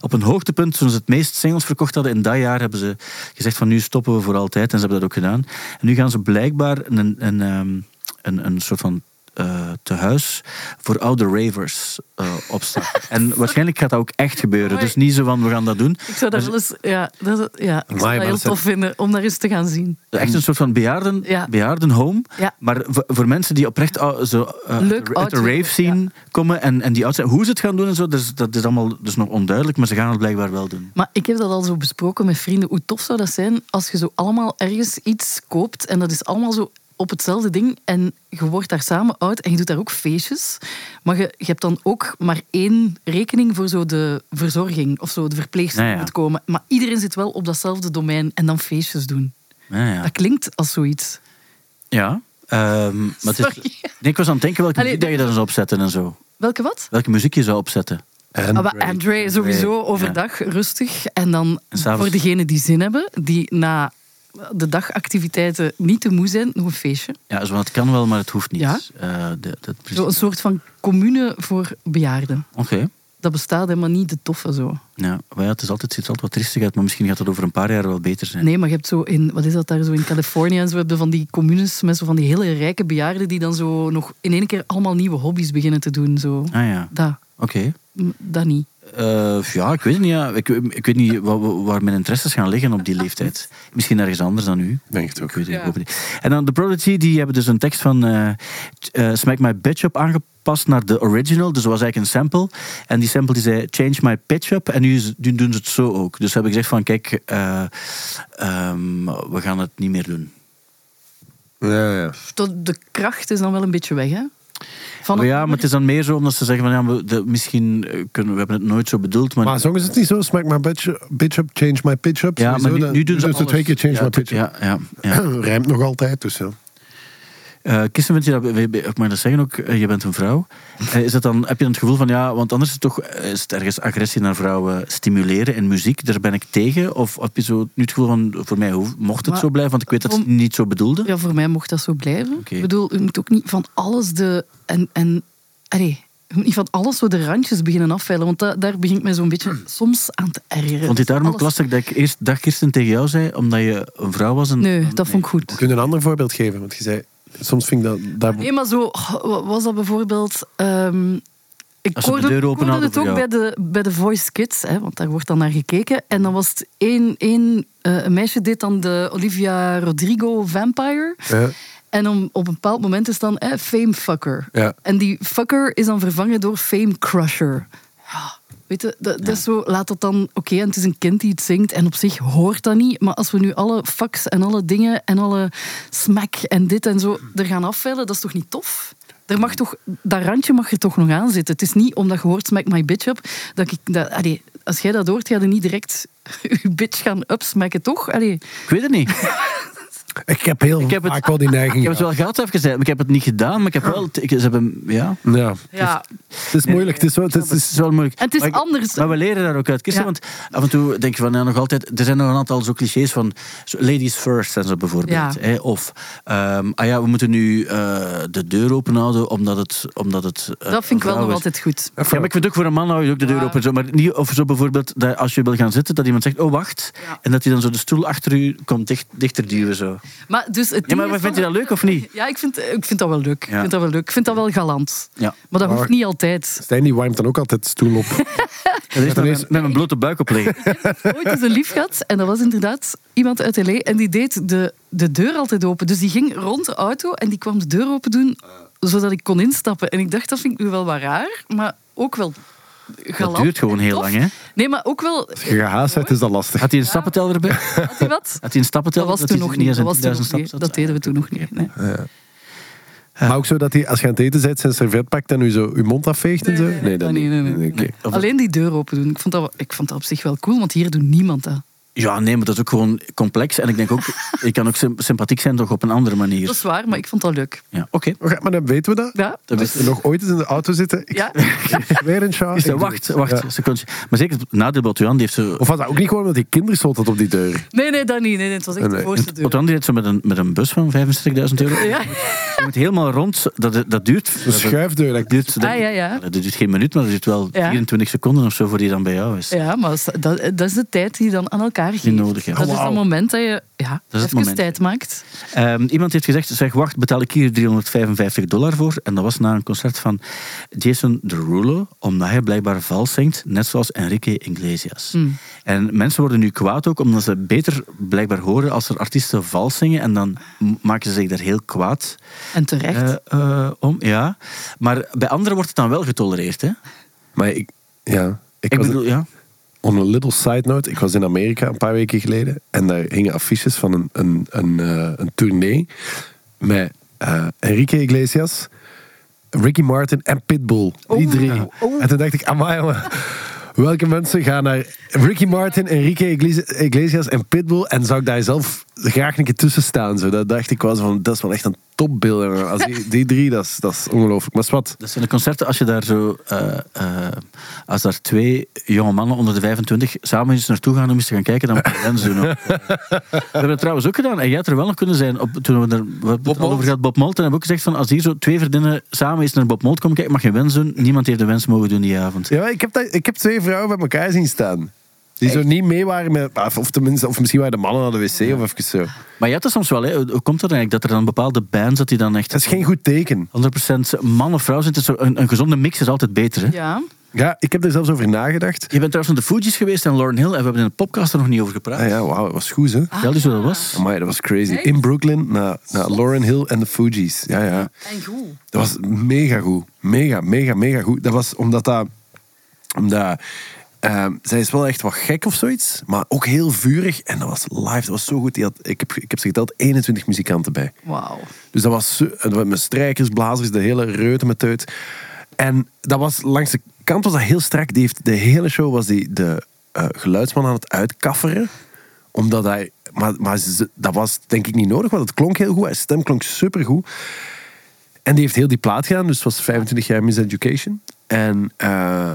Speaker 2: op een hoogtepunt, toen ze het meest singles verkocht hadden in dat jaar, hebben ze gezegd van nu stoppen we voor altijd. En ze hebben dat ook gedaan. En nu gaan ze blijkbaar een... een ehm, een, een soort van eh tehuis voor oude ravers eh opstaan. en waarschijnlijk gaat dat ook echt gebeuren.
Speaker 3: Mooi.
Speaker 2: Dus niet zo van we gaan dat doen. Dus
Speaker 3: Ik zou dat wel eens... Ja, dat, ja, ik zou
Speaker 4: Amai,
Speaker 3: dat heel
Speaker 4: maar ze-
Speaker 3: tof vinden om daar eens te gaan zien.
Speaker 2: Echt een soort van bejaarden,
Speaker 3: Ja.
Speaker 2: bejaardenhome.
Speaker 3: Ja.
Speaker 2: Maar voor, voor mensen die oprecht ou- zo, eh,
Speaker 3: Leuk
Speaker 2: uit de- uit
Speaker 3: oud
Speaker 2: de rave
Speaker 3: leven,
Speaker 2: scene komen en, en die oud zijn. Hoe ze het gaan doen en zo, dat is, dat is allemaal dus nog onduidelijk. Maar ze gaan het blijkbaar wel doen.
Speaker 3: Maar ik heb dat al zo besproken met vrienden. Hoe tof zou dat zijn als je zo allemaal ergens iets koopt en dat is allemaal zo op hetzelfde ding en je wordt daar samen oud en je doet daar ook feestjes. Maar je, je hebt dan ook maar één rekening voor zo de verzorging of zo de verpleegster
Speaker 2: Ja, ja.
Speaker 3: moet komen. Maar iedereen zit wel op datzelfde domein en dan feestjes doen.
Speaker 2: Ja, ja.
Speaker 3: Dat klinkt als zoiets.
Speaker 2: ja. ehm, maar het is-
Speaker 3: Sorry.
Speaker 2: nee, ik was aan het denken welke
Speaker 3: Allee,
Speaker 2: muziek dat je daar zou opzetten en zo.
Speaker 3: Welke wat?
Speaker 2: Welke muziek je zou opzetten.
Speaker 4: En
Speaker 3: Ah, maar André sowieso overdag rustig. En dan
Speaker 2: En s'avonds?
Speaker 3: voor degenen die zin hebben, die na de dagactiviteiten niet te moe zijn, nog een feestje.
Speaker 2: Ja, zo, van, het kan wel, maar het hoeft niet.
Speaker 3: Ja.
Speaker 2: Eh, de- dat principe.
Speaker 3: Zo een soort van commune voor bejaarden.
Speaker 2: Oké.
Speaker 3: Dat bestaat helemaal niet, de toffe zo.
Speaker 2: Ja, maar ja, het, is altijd, het ziet er altijd wat triestig uit, maar misschien gaat dat over een paar jaar wel beter zijn.
Speaker 3: Nee, maar je hebt zo in, wat is dat daar zo in Californië en zo, heb je van die communes met zo van die hele rijke bejaarden die dan zo nog in één keer allemaal nieuwe hobby's beginnen te doen. Zo.
Speaker 2: Ah ja,
Speaker 3: Dat,
Speaker 2: oké.
Speaker 3: m, dat niet.
Speaker 2: Eh, ja, ik weet het niet. Ja. Ik, ik weet niet wa- wa- waar mijn interesses gaan liggen op die leeftijd. Misschien ergens anders dan u.
Speaker 4: Denk het ook.
Speaker 2: Ik weet het, ik hoop het niet. En dan The Prodigy, die hebben dus een tekst van eh, t- eh, Smack My Bitch Up aangepast naar de original. Dus dat was eigenlijk een sample. En die sample die zei Change My Pitch Up. En nu, is- nu doen ze het zo ook. Dus heb ik gezegd van kijk, eh, ehm, we gaan het niet meer doen.
Speaker 4: Ja, ja.
Speaker 3: Tot de kracht is dan wel een beetje weg, hè? Van
Speaker 2: Maar ja, maar het is dan meer zo omdat ze zeggen van ja, we, de- misschien eh, kunnen we hebben het nooit zo bedoeld, maar,
Speaker 4: Maar zongen ze het niet zo? Smack my bitch, bitch up, change my pitch up.
Speaker 2: ja, maar
Speaker 4: Sowieso,
Speaker 2: nu,
Speaker 4: dan-
Speaker 2: nu doen ze
Speaker 4: dus de
Speaker 2: alles.
Speaker 4: twee keer change
Speaker 2: ja,
Speaker 4: my
Speaker 2: t-
Speaker 4: pitch up.
Speaker 2: Ja, ja. ja.
Speaker 4: Rijmt nog altijd, dus ja.
Speaker 2: Eh, Kirsten, vind je dat, we- we- ik mag dat zeggen ook, eh, je bent een vrouw. Eh, is dat dan, heb je dan het gevoel van ja, want anders is het toch eh, is het ergens agressie naar vrouwen stimuleren in muziek, daar ben ik tegen? Of heb je zo nu het gevoel van voor mij hoef- mocht het
Speaker 3: Maar-
Speaker 2: zo blijven, want ik weet dat ze het
Speaker 3: Om-
Speaker 2: niet zo bedoelden?
Speaker 3: Ja, voor mij mocht dat zo blijven.
Speaker 2: Oké.
Speaker 3: Ik bedoel, je moet ook niet van alles de. En, en, allee, je moet niet van alles zo de randjes beginnen afveilen. Want da- daar begint mij zo'n beetje soms aan te ergeren.
Speaker 2: Hmm.
Speaker 3: Dus
Speaker 2: Vond je het daarom ook
Speaker 3: Alles-
Speaker 2: lastig dat ik eerst dag Kirsten tegen jou zei, omdat je een vrouw was? En,
Speaker 3: Nee, dat vond ik goed.
Speaker 4: Kun je een ander voorbeeld geven? Want je zei, soms vind ik dat... dat
Speaker 3: Nee, maar zo oh, wa- was dat bijvoorbeeld. ehm, ik
Speaker 2: Als ze de
Speaker 3: hoorde,
Speaker 2: deur open
Speaker 3: ik hoorde
Speaker 2: hadden
Speaker 3: het ook
Speaker 2: voor
Speaker 3: bij
Speaker 2: jou.
Speaker 3: de, bij de Voice Kids, hè, want daar wordt dan naar gekeken. En dan was het één, één eh, een meisje deed dan de Olivia Rodrigo Vampire.
Speaker 4: Ja.
Speaker 3: En om, op een bepaald moment is dan eh, Fame Fucker.
Speaker 4: Ja.
Speaker 3: En die fucker is dan vervangen door Fame Crusher. Ja, Weet je, dat, dat is zo, laat dat dan... Oké, en het is een kind die het zingt en op zich hoort dat niet. Maar als we nu alle fucks en alle dingen en alle smack en dit en zo
Speaker 2: Hmm.
Speaker 3: er gaan afvellen, dat is toch niet tof? Er mag toch, dat randje mag je toch nog aan zitten. Het is niet omdat je hoort smack my bitch up, dat ik... Dat, allee, als jij dat hoort, ga je niet direct je bitch gaan upsmacken, toch? Allee,
Speaker 2: Ik weet het niet.
Speaker 4: Ik heb heel
Speaker 2: Ik heb het-
Speaker 4: vaak wel die neiging.
Speaker 2: Ik heb het wel gehad, even gezegd, maar ik heb het niet gedaan. Maar ik heb wel. Ik, ze hebben, ja.
Speaker 4: Ja.
Speaker 3: ja.
Speaker 4: Het is moeilijk. Het is wel, het is,
Speaker 2: Het is wel moeilijk.
Speaker 3: En het is
Speaker 2: Maar ik-
Speaker 3: anders.
Speaker 2: Maar we leren daar ook uit. Kirsten,
Speaker 3: Ja.
Speaker 2: want af en toe denk je van ja, nog altijd. Er zijn nog een aantal zo clichés van zo, ladies first en zo bijvoorbeeld.
Speaker 3: Ja.
Speaker 2: Hè? Of ehm, ah ja, we moeten nu eh, de deur open houden omdat het. Omdat het eh,
Speaker 3: dat vind ik wel
Speaker 2: een vrouw
Speaker 3: nog
Speaker 2: is.
Speaker 3: altijd goed.
Speaker 2: Ja, maar ik vind ook voor een man hou je ook de deur
Speaker 3: Ja.
Speaker 2: open. en Zo, maar niet of zo bijvoorbeeld dat als je wil gaan zitten, dat iemand zegt, oh wacht.
Speaker 3: Ja.
Speaker 2: En dat hij dan zo de stoel achter u komt dicht, dichter duwen. Zo.
Speaker 3: Maar dus het
Speaker 2: Ja, maar
Speaker 3: ding
Speaker 2: wat
Speaker 3: is
Speaker 2: vind je
Speaker 3: dan-
Speaker 2: dat leuk of niet?
Speaker 3: Ja, ik vind, ik vind dat wel leuk.
Speaker 2: Ja.
Speaker 3: Ik vind dat wel leuk. Ik vind dat wel galant.
Speaker 2: Ja.
Speaker 3: Maar dat hoeft
Speaker 4: Maar-
Speaker 3: niet altijd.
Speaker 4: Stijn die warmt dan ook altijd stoel op.
Speaker 2: Dat is met, mijn, met mijn blote buik op liggen.
Speaker 3: Ooit is een lief gehad en dat was inderdaad iemand uit L.A. En die deed de, de deur altijd open. Dus die ging rond de auto en die kwam de deur open doen zodat ik kon instappen. En ik dacht, dat vind ik nu wel wat raar, maar ook wel galant.
Speaker 2: Dat duurt gewoon
Speaker 3: en
Speaker 2: heel
Speaker 3: tof.
Speaker 2: lang, hè?
Speaker 3: Nee, maar ook wel...
Speaker 4: Als je gehaast bent, is dat lastig.
Speaker 2: Had hij een stappenteller erbij? Had
Speaker 3: Had hij wat?
Speaker 2: hij een
Speaker 3: Dat
Speaker 2: stappenteller?
Speaker 3: was
Speaker 2: hij
Speaker 3: toen nog
Speaker 2: er
Speaker 3: niet.
Speaker 2: eens
Speaker 3: Dat,
Speaker 2: aan
Speaker 3: was toen
Speaker 2: 10.000
Speaker 3: nog niet.
Speaker 2: stappen
Speaker 3: dat
Speaker 2: zat?
Speaker 3: deden we toen nog niet. nee.
Speaker 4: Maar ook zo dat hij, als je aan het eten bent, zijn servet pakt en u zo uw mond afveegt en zo? Nee, dat
Speaker 3: Ah,
Speaker 4: niet.
Speaker 3: nee, nee, nee.
Speaker 4: Oké.
Speaker 3: Nee. Alleen die deur open doen. Ik vond, dat, wel- ik vond dat op zich wel cool, want hier doet niemand dat.
Speaker 2: Ja, nee, maar dat is ook gewoon complex. En ik denk ook, ik kan ook sym- sympathiek zijn, toch op een andere manier.
Speaker 3: Dat is waar, maar ik vond dat leuk.
Speaker 2: Ja, oké.
Speaker 4: Oké, maar dan weten we dat.
Speaker 3: Ja,
Speaker 2: Dat
Speaker 4: Als we nog ooit eens in de auto zitten, ik
Speaker 3: ja.
Speaker 4: weer een sjaal.
Speaker 2: Is
Speaker 4: ik
Speaker 2: dat-
Speaker 4: doe
Speaker 2: wacht,
Speaker 4: het.
Speaker 2: wacht,
Speaker 4: Ja.
Speaker 2: een secondje. Maar zeker het nadeel bij Johan, die heeft zo...
Speaker 4: Of was dat ook niet gewoon omdat die kinderen stond had op die deur?
Speaker 3: Nee, nee, dat niet. Nee, nee, het was echt
Speaker 4: Nee.
Speaker 3: de voorste deur.
Speaker 2: Otwan die heeft zo met een, met een bus van 65.000 euro.
Speaker 3: Ja.
Speaker 2: Je moet helemaal rond, dat, dat duurt...
Speaker 4: Een schuifdeur. Dat
Speaker 2: Dat duurt, denk
Speaker 3: Ah, ja,
Speaker 2: ik-
Speaker 3: ja.
Speaker 2: dat duurt geen minuut, maar dat duurt wel
Speaker 3: Ja.
Speaker 2: 24 seconden of zo voor die dan bij jou is.
Speaker 3: Ja, maar dat, dat is de tijd die je dan aan elkaar geeft.
Speaker 2: nodig hebt.
Speaker 3: Dat
Speaker 2: Oh,
Speaker 3: is
Speaker 2: wauw.
Speaker 3: het moment dat je ja,
Speaker 2: het
Speaker 3: even
Speaker 2: moment.
Speaker 3: tijd maakt.
Speaker 2: Ehm, iemand heeft gezegd, zeg wacht, betaal ik hier 355 dollar voor. En dat was na een concert van Jason Derulo, omdat hij blijkbaar vals zingt, net zoals Enrique Iglesias. En mensen worden nu kwaad ook, omdat ze beter blijkbaar horen als er artiesten vals zingen. En dan m- maken ze zich daar heel kwaad
Speaker 3: En terecht.
Speaker 2: eh, eh, om. Ja. Maar bij anderen wordt het dan wel getolereerd. Hè?
Speaker 4: Maar ik, ja, ik,
Speaker 2: Ik
Speaker 4: was,
Speaker 2: bedoel, ja.
Speaker 4: on a little side note, ik was in Amerika een paar weken geleden en daar hingen affiches van een, een, een, eh, een tournee met eh, Enrique Iglesias, Ricky Martin en Pitbull. Die drie. En toen dacht ik, amai jongen. Welke mensen gaan naar Ricky Martin, Enrique Iglesi- Iglesias en Pitbull en zou ik daar zelf graag een keer tussen staan? Zo, dat dacht ik was van, dat is wel echt een topbeeld. jongen. Als die, die drie, dat is, dat is ongelooflijk. Maar wat?
Speaker 2: Dat zijn de concerten als je daar zo. eh, eh, als daar twee jonge mannen onder de 25 samen eens naartoe gaan om eens te gaan kijken, dan moet je lens doen. ook. we hebben dat trouwens ook gedaan. En jij had er wel nog kunnen zijn. Op, toen we er we hebben het al
Speaker 4: Molt?
Speaker 2: over gehad, Bob Molt. En hebben we ook gezegd: van, als hier zo twee vriendinnen samen eens naar Bob Molt komen kijken, mag je wens doen. Niemand heeft de wens mogen doen die avond.
Speaker 4: Ja, maar ik heb, dat, ik heb twee vrouwen bij elkaar zien staan. Die zo niet mee waren met... Of, of tenminste, of misschien waren de mannen naar de wc of even zo.
Speaker 2: Maar je hebt dat soms wel. Hè. Hoe hoe komt dat eigenlijk? Dat er dan bepaalde bands dat die dan echt.
Speaker 4: Dat is geen goed teken.
Speaker 2: 100% man of vrouw zijn. Het is zo- Een, een gezonde mix is altijd beter. Hè?
Speaker 3: ja.
Speaker 4: Ja, ik heb er zelfs over nagedacht.
Speaker 2: Je bent trouwens aan de Fuji's geweest en Lauren Hill. En we hebben in de podcast er nog niet over gepraat.
Speaker 4: Ah ja, wauw, dat was goed, hè?
Speaker 2: Vertel eens hoe dat was.
Speaker 4: Amai, dat was crazy. In Brooklyn, naar, naar Lauren Hill en de Fugees. Ja, ja.
Speaker 3: En goed.
Speaker 4: Dat was mega goed. Mega, mega, mega goed. Dat was omdat dat... Omdat... ehm, zij is wel echt wat gek of zoiets, maar ook heel vurig. En dat was live, dat was zo goed. Die had, ik, heb, ik heb ze geteld, 21 muzikanten bij.
Speaker 3: Wauw.
Speaker 4: Dus dat was zo- dat was met strijkers, blazers, de hele reuten met uit. En dat was langs de kant was dat heel strak. Die heeft, de hele show was die, de eh, geluidsman aan het uitkafferen. Omdat hij... Maar, maar ze- dat was denk ik niet nodig, want het klonk heel goed. Zijn stem klonk supergoed. En die heeft heel die plaat gedaan, dus het was 25 jaar miseducation. En eh,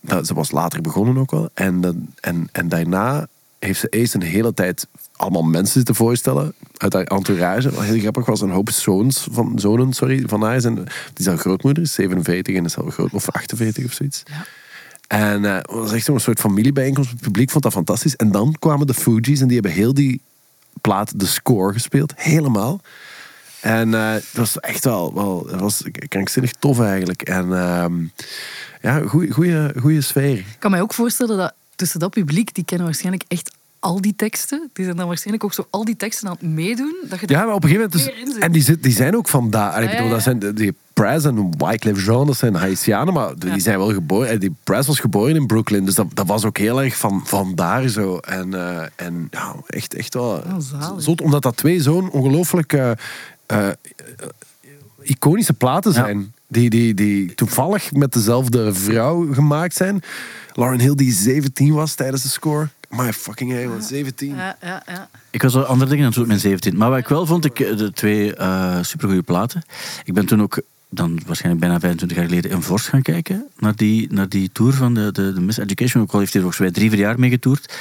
Speaker 4: dat, ze was later begonnen ook wel. En, dan- en, en daarna heeft ze eerst een hele tijd allemaal mensen zitten voorstellen uit haar entourage. Wat heel grappig was, een hoop zoons van, zonen sorry, van haar. Zijn, die zijn grootmoeder, is 47 en is zelf groot, of 48 of zoiets. En eh, het was echt zo'n soort familiebijeenkomst. Het publiek vond dat fantastisch. En dan kwamen de Fugees en die hebben heel die plaat, de score, gespeeld. Helemaal. En eh, het was echt wel, wel het was k- krankzinnig tof eigenlijk. En ehm, ja, goede sfeer.
Speaker 3: Ik kan mij ook voorstellen dat tussen dat publiek, die kennen waarschijnlijk echt al die teksten. Die zijn dan waarschijnlijk ook zo al die teksten aan het meedoen. Dat je
Speaker 4: Ja, maar op een gegeven moment...
Speaker 3: Weer
Speaker 4: Dus,
Speaker 3: inzoomen.
Speaker 4: en die, zit- die zijn ook vandaar. Ik
Speaker 3: Ja,
Speaker 4: bedoel,
Speaker 3: ja,
Speaker 4: dat
Speaker 3: ja.
Speaker 4: zijn de- die Prez en Wycliffe Jean, dat zijn Haitianen, maar die zijn wel geboren. en Die Prez was geboren in Brooklyn, dus dat, dat was ook heel erg van, vandaar zo. En, eh, en ja, echt, echt wel... eh,
Speaker 3: Oh, zalig.
Speaker 4: zot, omdat dat twee zo'n ongelooflijk eh, eh, iconische platen zijn. Die, die, die toevallig met dezelfde vrouw gemaakt zijn. Lauren Hill, die 17 was tijdens de score. My fucking hell, 17.
Speaker 3: Ja, ja, ja.
Speaker 2: Ik was al andere dingen aan het doen op mijn 17. Maar wat ik wel vond, ik, eh, de twee eh supergoeie platen. Ik ben toen ook, dan waarschijnlijk bijna 25 jaar geleden, in Vorst gaan kijken. Naar die, naar die tour van de, de, de Miss Education. Ook al heeft hij er volgens mij drie, vier jaar mee getoerd.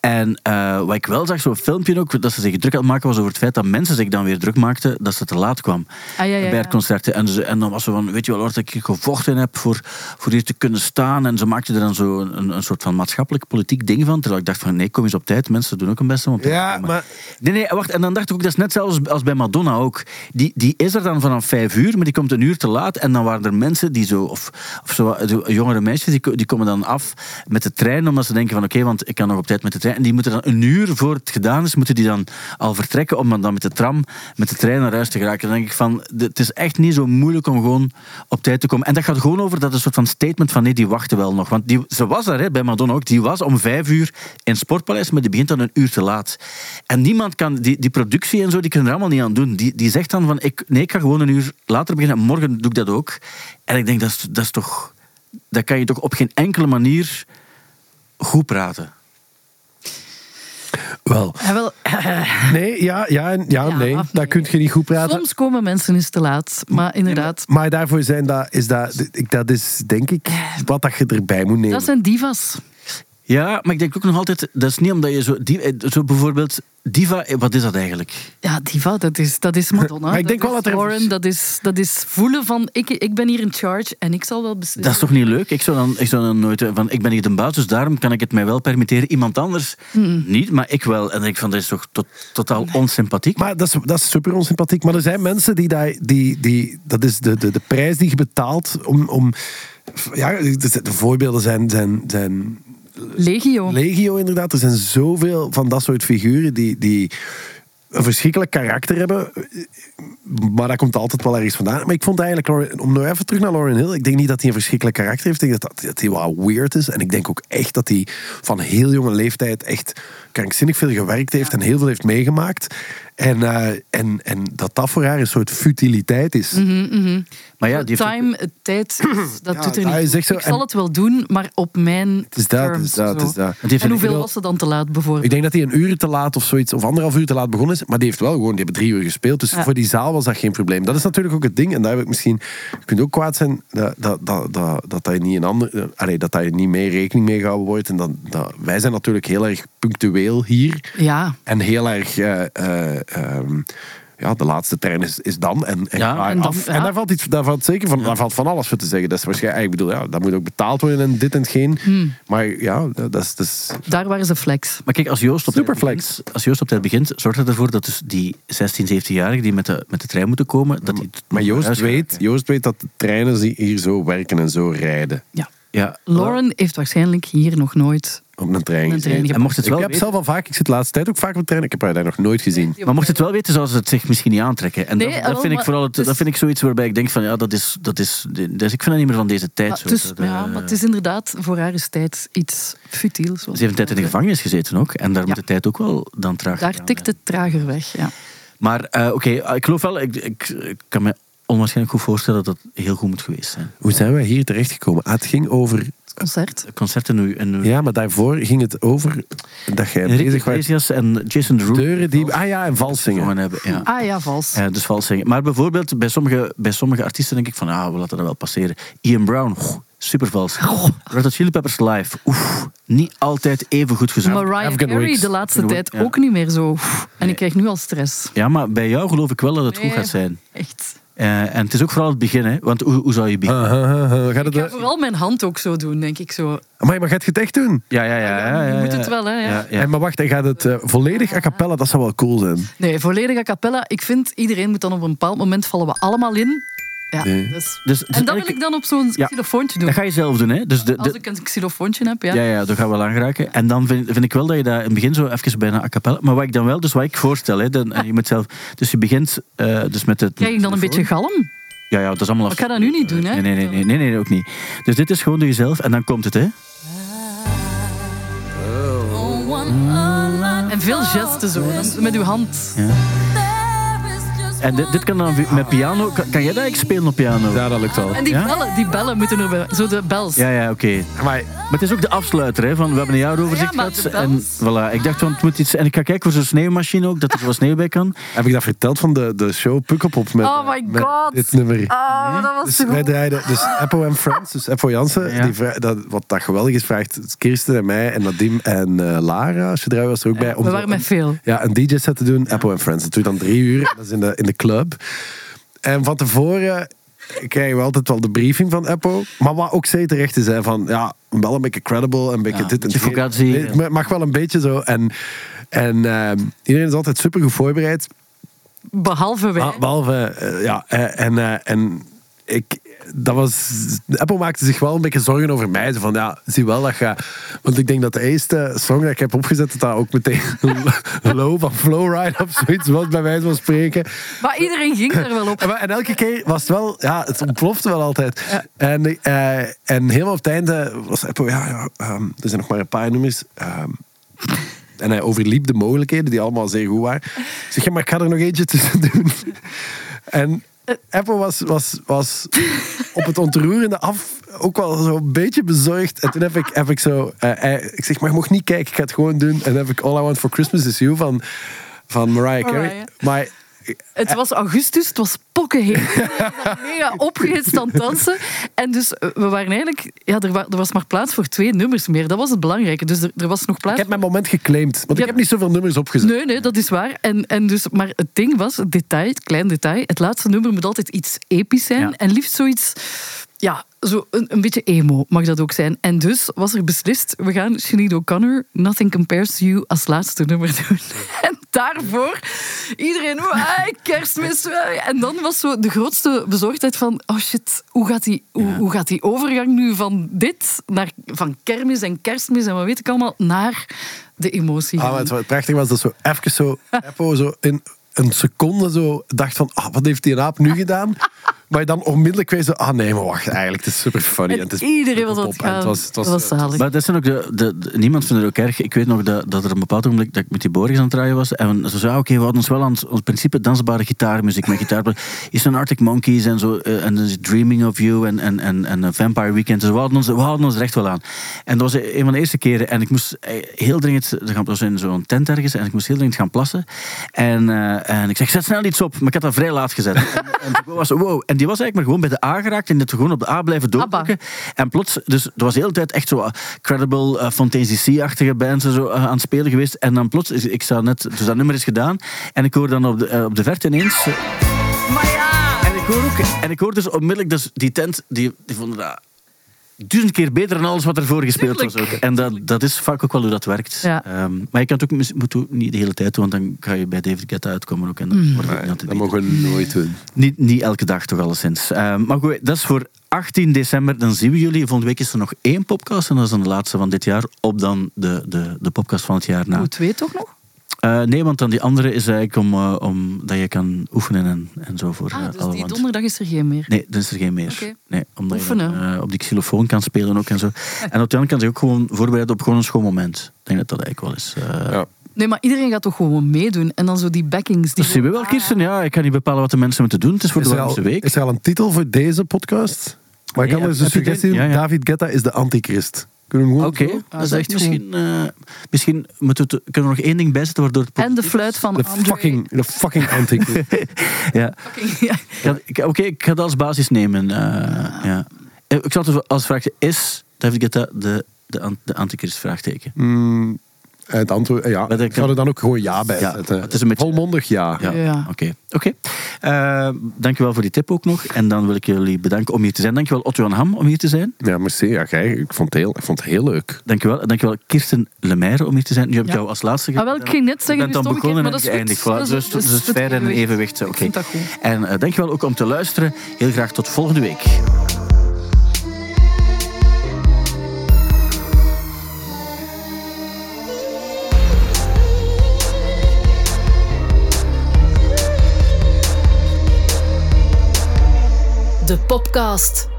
Speaker 2: En eh, wat ik wel zag, zo'n filmpje ook, dat ze zich druk aan het maken was over het feit dat mensen zich dan weer druk maakten dat ze te laat kwam
Speaker 3: Ah, ja, ja,
Speaker 2: bij het
Speaker 3: ja.
Speaker 2: concert. En, ze, en dan was ze van, weet je wel, hoor, dat ik gevochten heb voor, voor hier te kunnen staan. En ze maakte er dan zo een, een soort van maatschappelijk politiek ding van. Terwijl ik dacht van, nee, kom eens op tijd. Mensen doen ook hun best om op tijd te
Speaker 4: Ja,
Speaker 2: komen.
Speaker 4: maar-
Speaker 2: Nee, nee, wacht. En dan dacht ik ook, dat is net zelfs als bij Madonna ook. Die, die is er dan vanaf vijf uur, maar die komt een uur te laat. En dan waren er mensen die zo, of, of zo, de jongere meisjes, die, ko- die komen dan af met de trein, omdat ze denken van, oké, want ik kan nog op tijd met de trein. En die moeten dan een uur voor het gedaan is, moeten die dan al vertrekken om dan met de tram, met de trein naar huis te geraken. Dan denk ik van, de- het is echt niet zo moeilijk om gewoon op tijd te komen. En dat gaat gewoon over dat een soort van statement van, nee, die wachten wel nog. Want die, ze was daar, hè, bij Madonna ook, die was om vijf uur in het Sportpaleis, maar die begint dan een uur te laat. En niemand kan, die, die productie en zo, die kunnen er allemaal niet aan doen. Die, die zegt dan van, ik, nee, ik ga gewoon een uur later beginnen, en morgen doe ik dat ook. En ik denk, dat is, dat is toch, dat kan je toch op geen enkele manier goed praten.
Speaker 4: Wel.
Speaker 3: Ja, wel,
Speaker 4: Nee, ja, ja, en- ja,
Speaker 3: Ja,
Speaker 4: nee.
Speaker 3: of
Speaker 4: Daar
Speaker 3: nee.
Speaker 4: kun je niet goed praten.
Speaker 3: soms komen mensen eens te laat, maar inderdaad,
Speaker 4: Maar daarvoor zijn dat, is dat, ik- dat is denk ik wat dat je erbij moet nemen.
Speaker 3: dat zijn divas.
Speaker 2: Ja, maar ik denk ook nog altijd, dat is niet omdat je zo, die, eh, zo bijvoorbeeld, diva, eh, wat is dat eigenlijk?
Speaker 3: Ja, diva, dat is, dat is Madonna.
Speaker 4: Maar ik denk wel
Speaker 3: is
Speaker 4: dat er-
Speaker 3: Warren, dat is, dat is voelen van ik, ik ben hier in charge en ik zal wel beslissen.
Speaker 2: Dat is toch niet leuk? Ik zou dan, ik zou dan nooit eh, van, ik ben hier de baas, dus daarom kan ik het mij wel permitteren. Iemand anders
Speaker 3: Hmm.
Speaker 2: niet, maar ik wel. En dan denk ik van, dat is toch tot, totaal onsympathiek?
Speaker 4: Maar dat is, dat is super onsympathiek. Maar er zijn mensen die, dat- die, die dat is de, de, de prijs die je betaalt om, om ja, de de voorbeelden zijn, zijn, zijn
Speaker 3: Legio.
Speaker 4: legio inderdaad. Er zijn zoveel van dat soort figuren die, die een verschrikkelijk karakter hebben. Maar dat komt altijd wel ergens vandaan. Maar ik vond eigenlijk, Lauryn- om nou even terug naar Lauren Hill, ik denk niet dat hij een verschrikkelijk karakter heeft. Ik denk dat, dat, dat hij wel weird is. En ik denk ook echt dat hij van heel jonge leeftijd echt krankzinnig veel gewerkt heeft en heel veel heeft meegemaakt. En, eh, en, en dat dat voor haar een soort futiliteit is.
Speaker 2: Maar ja, die heeft ook-
Speaker 3: Time, eh, tijd, is- dat
Speaker 4: Ja,
Speaker 3: doet er
Speaker 4: hij
Speaker 3: niet. toe.
Speaker 4: zegt zo-
Speaker 3: ik zal
Speaker 4: en-
Speaker 3: het wel doen, maar op mijn
Speaker 4: is dat,
Speaker 3: terms.
Speaker 4: het is dat, het
Speaker 3: zo.
Speaker 4: is dat. Want die
Speaker 2: heeft
Speaker 3: En
Speaker 2: een-
Speaker 3: hoeveel
Speaker 4: ik
Speaker 3: was ze dan te laat, bijvoorbeeld?
Speaker 4: Ik denk dat hij een uur te laat of zoiets, of anderhalf uur te laat begonnen is. Maar die heeft wel gewoon, die hebben drie uur gespeeld. Dus
Speaker 3: Ja.
Speaker 4: voor die zaal was dat geen probleem. Dat is natuurlijk ook het ding. En daar heb ik misschien, je kunt ook kwaad zijn eh, dat dat, dat, dat, dat hij niet een ander, eh, allee, dat daar niet mee rekening mee gehouden wordt. En dan, dat, wij zijn natuurlijk heel erg punctueel hier.
Speaker 3: Ja,
Speaker 4: En heel erg, eh, eh, ehm, ja, de laatste trein is, is dan. En, en,
Speaker 2: Ja,
Speaker 4: ga je
Speaker 3: en dan-
Speaker 4: af.
Speaker 3: ja.
Speaker 4: en daar valt, iets, daar valt zeker van, daar valt van alles voor te zeggen. Dat is waarschijnlijk, ik bedoel, ja, dat moet ook betaald worden en dit en hetgeen. Maar ja, dat is, dat is
Speaker 3: daar waren ze flex.
Speaker 2: Maar kijk, als Joost op,
Speaker 4: Superflex.
Speaker 2: tijd begint, als Joost op tijd begint, zorgt dat ervoor dat dus die 16, 17-jarigen die met de, met de trein moeten komen, dat die
Speaker 4: Maar Joost
Speaker 2: thuis
Speaker 4: weet,
Speaker 2: geraken.
Speaker 4: Joost weet dat de treinen die hier zo werken en zo rijden.
Speaker 3: Ja.
Speaker 2: Ja,
Speaker 3: Lauren heeft waarschijnlijk hier nog nooit.
Speaker 4: Op een trein.
Speaker 3: Op een trein
Speaker 4: gezeten.
Speaker 2: en mocht het
Speaker 4: Ik
Speaker 2: wel
Speaker 4: heb
Speaker 2: weten-
Speaker 4: zelf al vaak, ik zit de laatste tijd ook vaak op trein. Ik heb haar daar nog nooit gezien.
Speaker 2: Maar mocht het wel weten, zou ze het zich misschien niet aantrekken. En
Speaker 3: Nee,
Speaker 2: dat, dat,
Speaker 3: wel,
Speaker 2: vind ik
Speaker 3: maar dus-
Speaker 2: vooral het,
Speaker 3: het is-
Speaker 2: dat vind ik zoiets waarbij ik denk van, ja, dat is... Dat is, dat is ik vind dat niet meer van deze tijd.
Speaker 3: Maar
Speaker 2: zo.
Speaker 3: het, is,
Speaker 2: Dat, eh,
Speaker 3: Ah, dus, ja, maar het is inderdaad voor haar is tijd iets futiels.
Speaker 2: Ze heeft een tijd in de gevangenis gezeten ook. En daar moet
Speaker 3: Ja.
Speaker 2: de tijd ook wel dan traag
Speaker 3: Daar
Speaker 2: gaan,
Speaker 3: tikt
Speaker 2: hè.
Speaker 3: het trager weg. Ja.
Speaker 2: Maar eh, oké, ik geloof wel... Ik, ik, ik kan me onwaarschijnlijk goed voorstellen dat dat heel goed moet geweest zijn.
Speaker 4: Hoe zijn wij hier terechtgekomen? Ah, het ging over...
Speaker 3: Het concert.
Speaker 2: Het Concert in uw... In uw
Speaker 4: Ja, maar daarvoor ging het over dat jij
Speaker 2: Enrique
Speaker 4: bezig was.
Speaker 2: Iglesias en Jason Derulo.
Speaker 4: Deuren die... Ah ja, en vals
Speaker 2: gezongen
Speaker 4: zingen.
Speaker 2: hebben. Ja.
Speaker 3: Ah ja, vals.
Speaker 2: Eh, dus vals zingen. Maar bijvoorbeeld bij sommige, bij sommige artiesten denk ik van, ah, we laten dat wel passeren. Ian Brown, goh, super vals.
Speaker 3: Oh.
Speaker 2: Red Hot Chili Peppers live, oef, niet altijd even goed gezongen.
Speaker 3: Mariah
Speaker 4: Afghan
Speaker 3: Carey
Speaker 4: Wigs.
Speaker 3: de laatste
Speaker 2: Afghan
Speaker 3: tijd
Speaker 2: Wigs, ja.
Speaker 3: ook niet meer zo. Pff, En ik krijg nu al stress.
Speaker 2: Ja, maar bij jou geloof ik wel dat het goed
Speaker 3: Nee.
Speaker 2: gaat zijn.
Speaker 3: Echt.
Speaker 2: Eh, en het is ook vooral het begin, hè? Want hoe, hoe zou je
Speaker 4: Ah,
Speaker 2: beginnen?
Speaker 4: Gaat het... eh,
Speaker 3: Ik ga vooral mijn hand ook zo doen, denk ik zo.
Speaker 4: Amai, maar gaat je het echt doen?
Speaker 2: Ja, ja, ja. ja,
Speaker 3: je
Speaker 2: ja,
Speaker 3: moet
Speaker 2: ja.
Speaker 3: het wel, hè, ja.
Speaker 4: En maar wacht, hij gaat het eh, volledig a cappella. Dat zou wel cool zijn.
Speaker 3: Nee, volledig a cappella. Ik vind, iedereen moet dan op een bepaald moment vallen we allemaal in. Ja, dus.
Speaker 2: Dus- dus
Speaker 3: en dat
Speaker 2: eigenlijk-
Speaker 3: wil ik dan op zo'n
Speaker 2: Ja.
Speaker 3: xylofoontje doen.
Speaker 2: Dat ga je zelf doen, hè? Dus de,
Speaker 3: Als
Speaker 2: de,
Speaker 3: ik een xylofoontje heb, ja.
Speaker 2: ja, ja, daar gaan we wel aan geraken. En dan vind, vind ik wel dat je daar in het begin zo even bijna a cappella... Maar wat ik dan wel, dus wat ik voorstel, hè, dan, en je moet zelf... Dus je begint eh, dus met het...
Speaker 3: Krijg ik Ah. dan een beetje galm?
Speaker 2: Ja, ja, dat is allemaal af.
Speaker 3: Ik ga dat nu niet doen, hè?
Speaker 2: Nee, nee, nee, nee, nee, nee, ook niet. Dus dit is gewoon door jezelf en dan komt het, hè?
Speaker 3: En veel gesten zo, dan- met uw hand.
Speaker 2: Ja.
Speaker 8: There is just
Speaker 2: En dit, dit kan dan vi- met piano. Kan, kan jij dat eigenlijk spelen op piano?
Speaker 4: Ja, dat lukt al.
Speaker 3: En die
Speaker 2: Ja?
Speaker 3: bellen, die bellen moeten er wel- Zo de bels.
Speaker 2: Ja, ja, oké.
Speaker 4: Maar
Speaker 2: Maar het is ook de afsluiter, hè, van we hebben een jaaroverzicht
Speaker 3: Ja, maar
Speaker 2: gehad.
Speaker 3: de
Speaker 2: en voilà, ik dacht, van, het moet iets... En ik ga kijken voor zo'n sneeuwmachine ook, dat er wat sneeuw bij kan.
Speaker 4: heb ik dat verteld van de, de show Pukkelpop met,
Speaker 3: Oh my
Speaker 4: met
Speaker 3: god.
Speaker 4: dit nummer?
Speaker 3: Ah, maar dat was
Speaker 4: Dus
Speaker 3: zo
Speaker 4: wij
Speaker 3: goed.
Speaker 4: draaiden, dus Apple en Friends, dus Apple Jansen,
Speaker 2: Ja.
Speaker 4: die vra- dat, wat dat geweldig is, vraagt Kirsten en mij en Nadim en eh, Lara, als je daar was er ook bij. Om
Speaker 3: We
Speaker 4: zo
Speaker 3: waren met veel.
Speaker 4: Ja, een DJ-set te doen, Apple en Friends. Dat duurt dan drie uur, en dat is in de, in de club. En van tevoren krijgen we altijd wel de briefing van Apple. Maar wat ook zij terecht is, hè, van ja, wel een beetje credible, een beetje
Speaker 2: Ja,
Speaker 4: dit en
Speaker 2: advocatie.
Speaker 4: Nee, Het mag wel een beetje zo. En, en ehm, iedereen is altijd super goed voorbereid.
Speaker 3: Behalve wij.
Speaker 4: Ah, behalve, eh, ja, eh, en, eh, en ik, dat was, Apple maakte zich wel een beetje zorgen over mij. Zo van, ja, zie wel dat je, want ik denk dat de eerste song dat ik heb opgezet, dat dat ook meteen low van Flowride of zoiets was, bij wijze van spreken.
Speaker 2: Dus-
Speaker 3: Maar iedereen ging er wel op.
Speaker 4: En, maar- en elke keer was het wel, ja, het ontplofte wel altijd. En, eh, en helemaal op het einde was Apple, ja, ja, ehm, er zijn nog maar een paar nummers. ehm, en hij overliep de mogelijkheden, die allemaal zeer goed waren. Ik Zeg, ja, maar ik ga er nog eentje tussen doen. En
Speaker 3: Eh.
Speaker 4: Apple was, was, was op het ontroerende af ook wel zo'n beetje bezorgd. En toen heb ik, heb ik zo... eh, eh, ik zeg, maar je mocht niet kijken, ik ga het gewoon doen. En dan heb ik All I Want For Christmas Is You van, van Mariah Carey.
Speaker 3: Mariah.
Speaker 4: Maar
Speaker 3: Het was augustus, het was pokkenheet. We waren mega opgehitst aan het dansen. En dus eh, we waren eigenlijk... Ja, er, wa- er was maar plaats voor twee nummers meer. Dat was het belangrijke. Dus er, er was nog
Speaker 4: Ik
Speaker 3: plaats
Speaker 4: heb mijn moment geclaimd, want ik
Speaker 3: Ja.
Speaker 4: heb niet zoveel nummers opgezet.
Speaker 3: Nee, nee, dat is waar. En, en dus, maar het ding was, het detail, het klein detail, het laatste nummer moet altijd iets episch zijn.
Speaker 2: Ja.
Speaker 3: En liefst zoiets, ja, zo een, een beetje emo mag dat ook zijn. En dus was er beslist, we gaan Sinead O'Connor, Nothing Compares to You, als laatste nummer doen. En daarvoor, iedereen, "Wai, kerstmis. wai." En dan was zo de grootste bezorgdheid van, oh shit, hoe gaat die, hoe, hoe gaat die overgang nu van dit, naar, van kermis en kerstmis en wat weet ik allemaal, naar de emotie.
Speaker 4: Ah,
Speaker 3: gaan.
Speaker 4: maar het, wat prachtig was dat zo even zo, Eppo zo in een seconde zo dacht van, ah, wat heeft die raap nu gedaan? Maar je dan onmiddellijk weer zo, ah nee, maar wacht, eigenlijk, het is super funny.
Speaker 3: En
Speaker 4: het is
Speaker 3: iedereen was aan het
Speaker 4: pop. En
Speaker 3: gaan.
Speaker 4: het was, het was,
Speaker 3: dat was eh, zalig.
Speaker 2: Maar dat zijn ook de, de, de- niemand vindt het ook erg. Ik weet nog dat, dat er een bepaald ogenblik dat ik met die Boris aan het draaien was. En ze zei, ah, oké, we hadden ons wel aan het- ons principe dansbare gitaarmuziek met gitaar. Is een Arctic Monkeys en zo. eh, En dus Dreaming of You en, en, en, en eh, Vampire Weekend. Dus we hadden, ons, we hadden ons er echt wel aan. En dat was een van de eerste keren. En ik moest eh, heel dringend, er gaan- dat was in zo'n tent ergens. En ik moest heel dringend gaan plassen. En, eh, en ik zeg, zet snel iets op. Maar ik had dat vrij laat gezet. En, en toen was, wow. en die was eigenlijk maar gewoon bij de A geraakt. En dit gewoon op de A blijven
Speaker 3: Abba.
Speaker 2: doordrukken. En plots, dus er was de hele tijd echt zo eh, credible eh, Fontaine's D.C.-achtige bands en zo eh, aan het spelen geweest. En dan plots, is- ik sta net, dus dat nummer is gedaan. En ik hoor dan op de, eh, op de verte ineens. eh, en ik hoor ook, en ik hoor dus onmiddellijk, dus die tent, die, die vonden dat duizend keer beter dan alles wat ervoor gespeeld was. Ook.
Speaker 3: Tuurlijk.
Speaker 2: En dat, dat is vaak ook wel hoe dat werkt.
Speaker 3: Ja.
Speaker 2: Ehm, maar je kan het ook, mis- moet ook niet de hele tijd doen, want dan ga je bij David Guetta uitkomen ook. En dan wordt het niet altijd
Speaker 4: dat
Speaker 2: beter.
Speaker 4: mogen we nooit doen.
Speaker 2: Niet, niet elke dag toch alleszins. Eh, maar goed, dat is voor 18 december. Dan zien we jullie. Volgende week is er nog één podcast. En dat is dan de laatste van dit jaar. Op dan de, de, de podcast van het jaar na.
Speaker 3: Hoe twee toch nog?
Speaker 2: Eh, nee, want dan die andere is eigenlijk om, eh, om dat je kan oefenen en, en zo voor eh,
Speaker 3: Ah, dus
Speaker 2: alle
Speaker 3: die
Speaker 2: want-
Speaker 3: donderdag is er geen meer.
Speaker 2: Nee, dan is er geen meer.
Speaker 3: Oké.
Speaker 2: Nee, omdat je dan,
Speaker 3: Oefenen.
Speaker 2: eh, op die xylofoon kan spelen ook en zo. En op de andere kant je ook gewoon voorbereiden op gewoon een schoon moment. Ik denk dat dat eigenlijk wel is. eh,
Speaker 4: Ja.
Speaker 3: Nee, maar iedereen gaat toch gewoon meedoen. En dan zo die backings. Die
Speaker 2: Dus zien we wel, Kirsten. Ja, ik kan niet bepalen wat de mensen moeten doen. Het is voor
Speaker 4: Is,
Speaker 2: de
Speaker 4: er al,
Speaker 2: laatste week.
Speaker 4: is er al een titel voor deze podcast? Maar ik
Speaker 2: Nee,
Speaker 4: kan dus
Speaker 2: heb je
Speaker 4: een
Speaker 2: dit?
Speaker 4: suggestie doen.
Speaker 2: Ja, ja.
Speaker 4: David Guetta is de antichrist. Kunnen we hem gewoon
Speaker 2: Oké,
Speaker 4: zo?
Speaker 2: dat is
Speaker 3: dat
Speaker 2: echt
Speaker 3: is goed.
Speaker 2: Ah, misschien. eh, misschien moeten we het- kunnen we nog één ding bijzetten waardoor het.
Speaker 3: En de
Speaker 2: positief
Speaker 3: fluit van
Speaker 4: De
Speaker 3: André.
Speaker 4: fucking, de fucking antichrist.
Speaker 2: is. Ja.
Speaker 3: Fucking, ja.
Speaker 2: Ik ga- ik- Oké, ik ga dat als basis nemen. eh,
Speaker 3: Ah.
Speaker 2: ja. Eh, Ik zal het als vraag is David Guetta eh, de, de, an- de antichrist vraagteken?
Speaker 4: het antwoord, eh, ja.
Speaker 2: dat
Speaker 4: Ik
Speaker 2: kan-
Speaker 4: zou er dan ook gewoon ja bij
Speaker 2: Ja,
Speaker 4: zetten.
Speaker 2: het is een beetje-
Speaker 4: Volmondig ja.
Speaker 2: Ja,
Speaker 3: Ja.
Speaker 2: oké. oké. Eh, dankjewel voor die tip ook nog. En dan wil ik jullie bedanken om hier te zijn. Dankjewel Otto en Ham om hier te zijn.
Speaker 4: Ja, merci. Ja, kijk, ik vond het heel, ik vond het heel leuk.
Speaker 2: Dankjewel. En dankjewel Kirsten Lemaire om hier te zijn. Nu heb ik
Speaker 3: Ja.
Speaker 2: jou als laatste
Speaker 3: Ah, wel, ik ging net zeggen,
Speaker 2: Je bent
Speaker 3: het
Speaker 2: dan
Speaker 3: is
Speaker 2: begonnen en
Speaker 3: omgekeerd, maar
Speaker 2: geëindigd.
Speaker 3: dat is
Speaker 2: Voilà,
Speaker 3: goed. Dat
Speaker 2: dus
Speaker 3: is- dat
Speaker 2: dus
Speaker 3: is
Speaker 2: het
Speaker 3: het
Speaker 2: fair en
Speaker 3: evenwicht.
Speaker 2: evenwicht.
Speaker 3: Ik
Speaker 2: Oké.
Speaker 3: vind dat goed.
Speaker 2: En eh, dankjewel ook om te luisteren. Heel graag tot volgende week.
Speaker 1: De Popcast.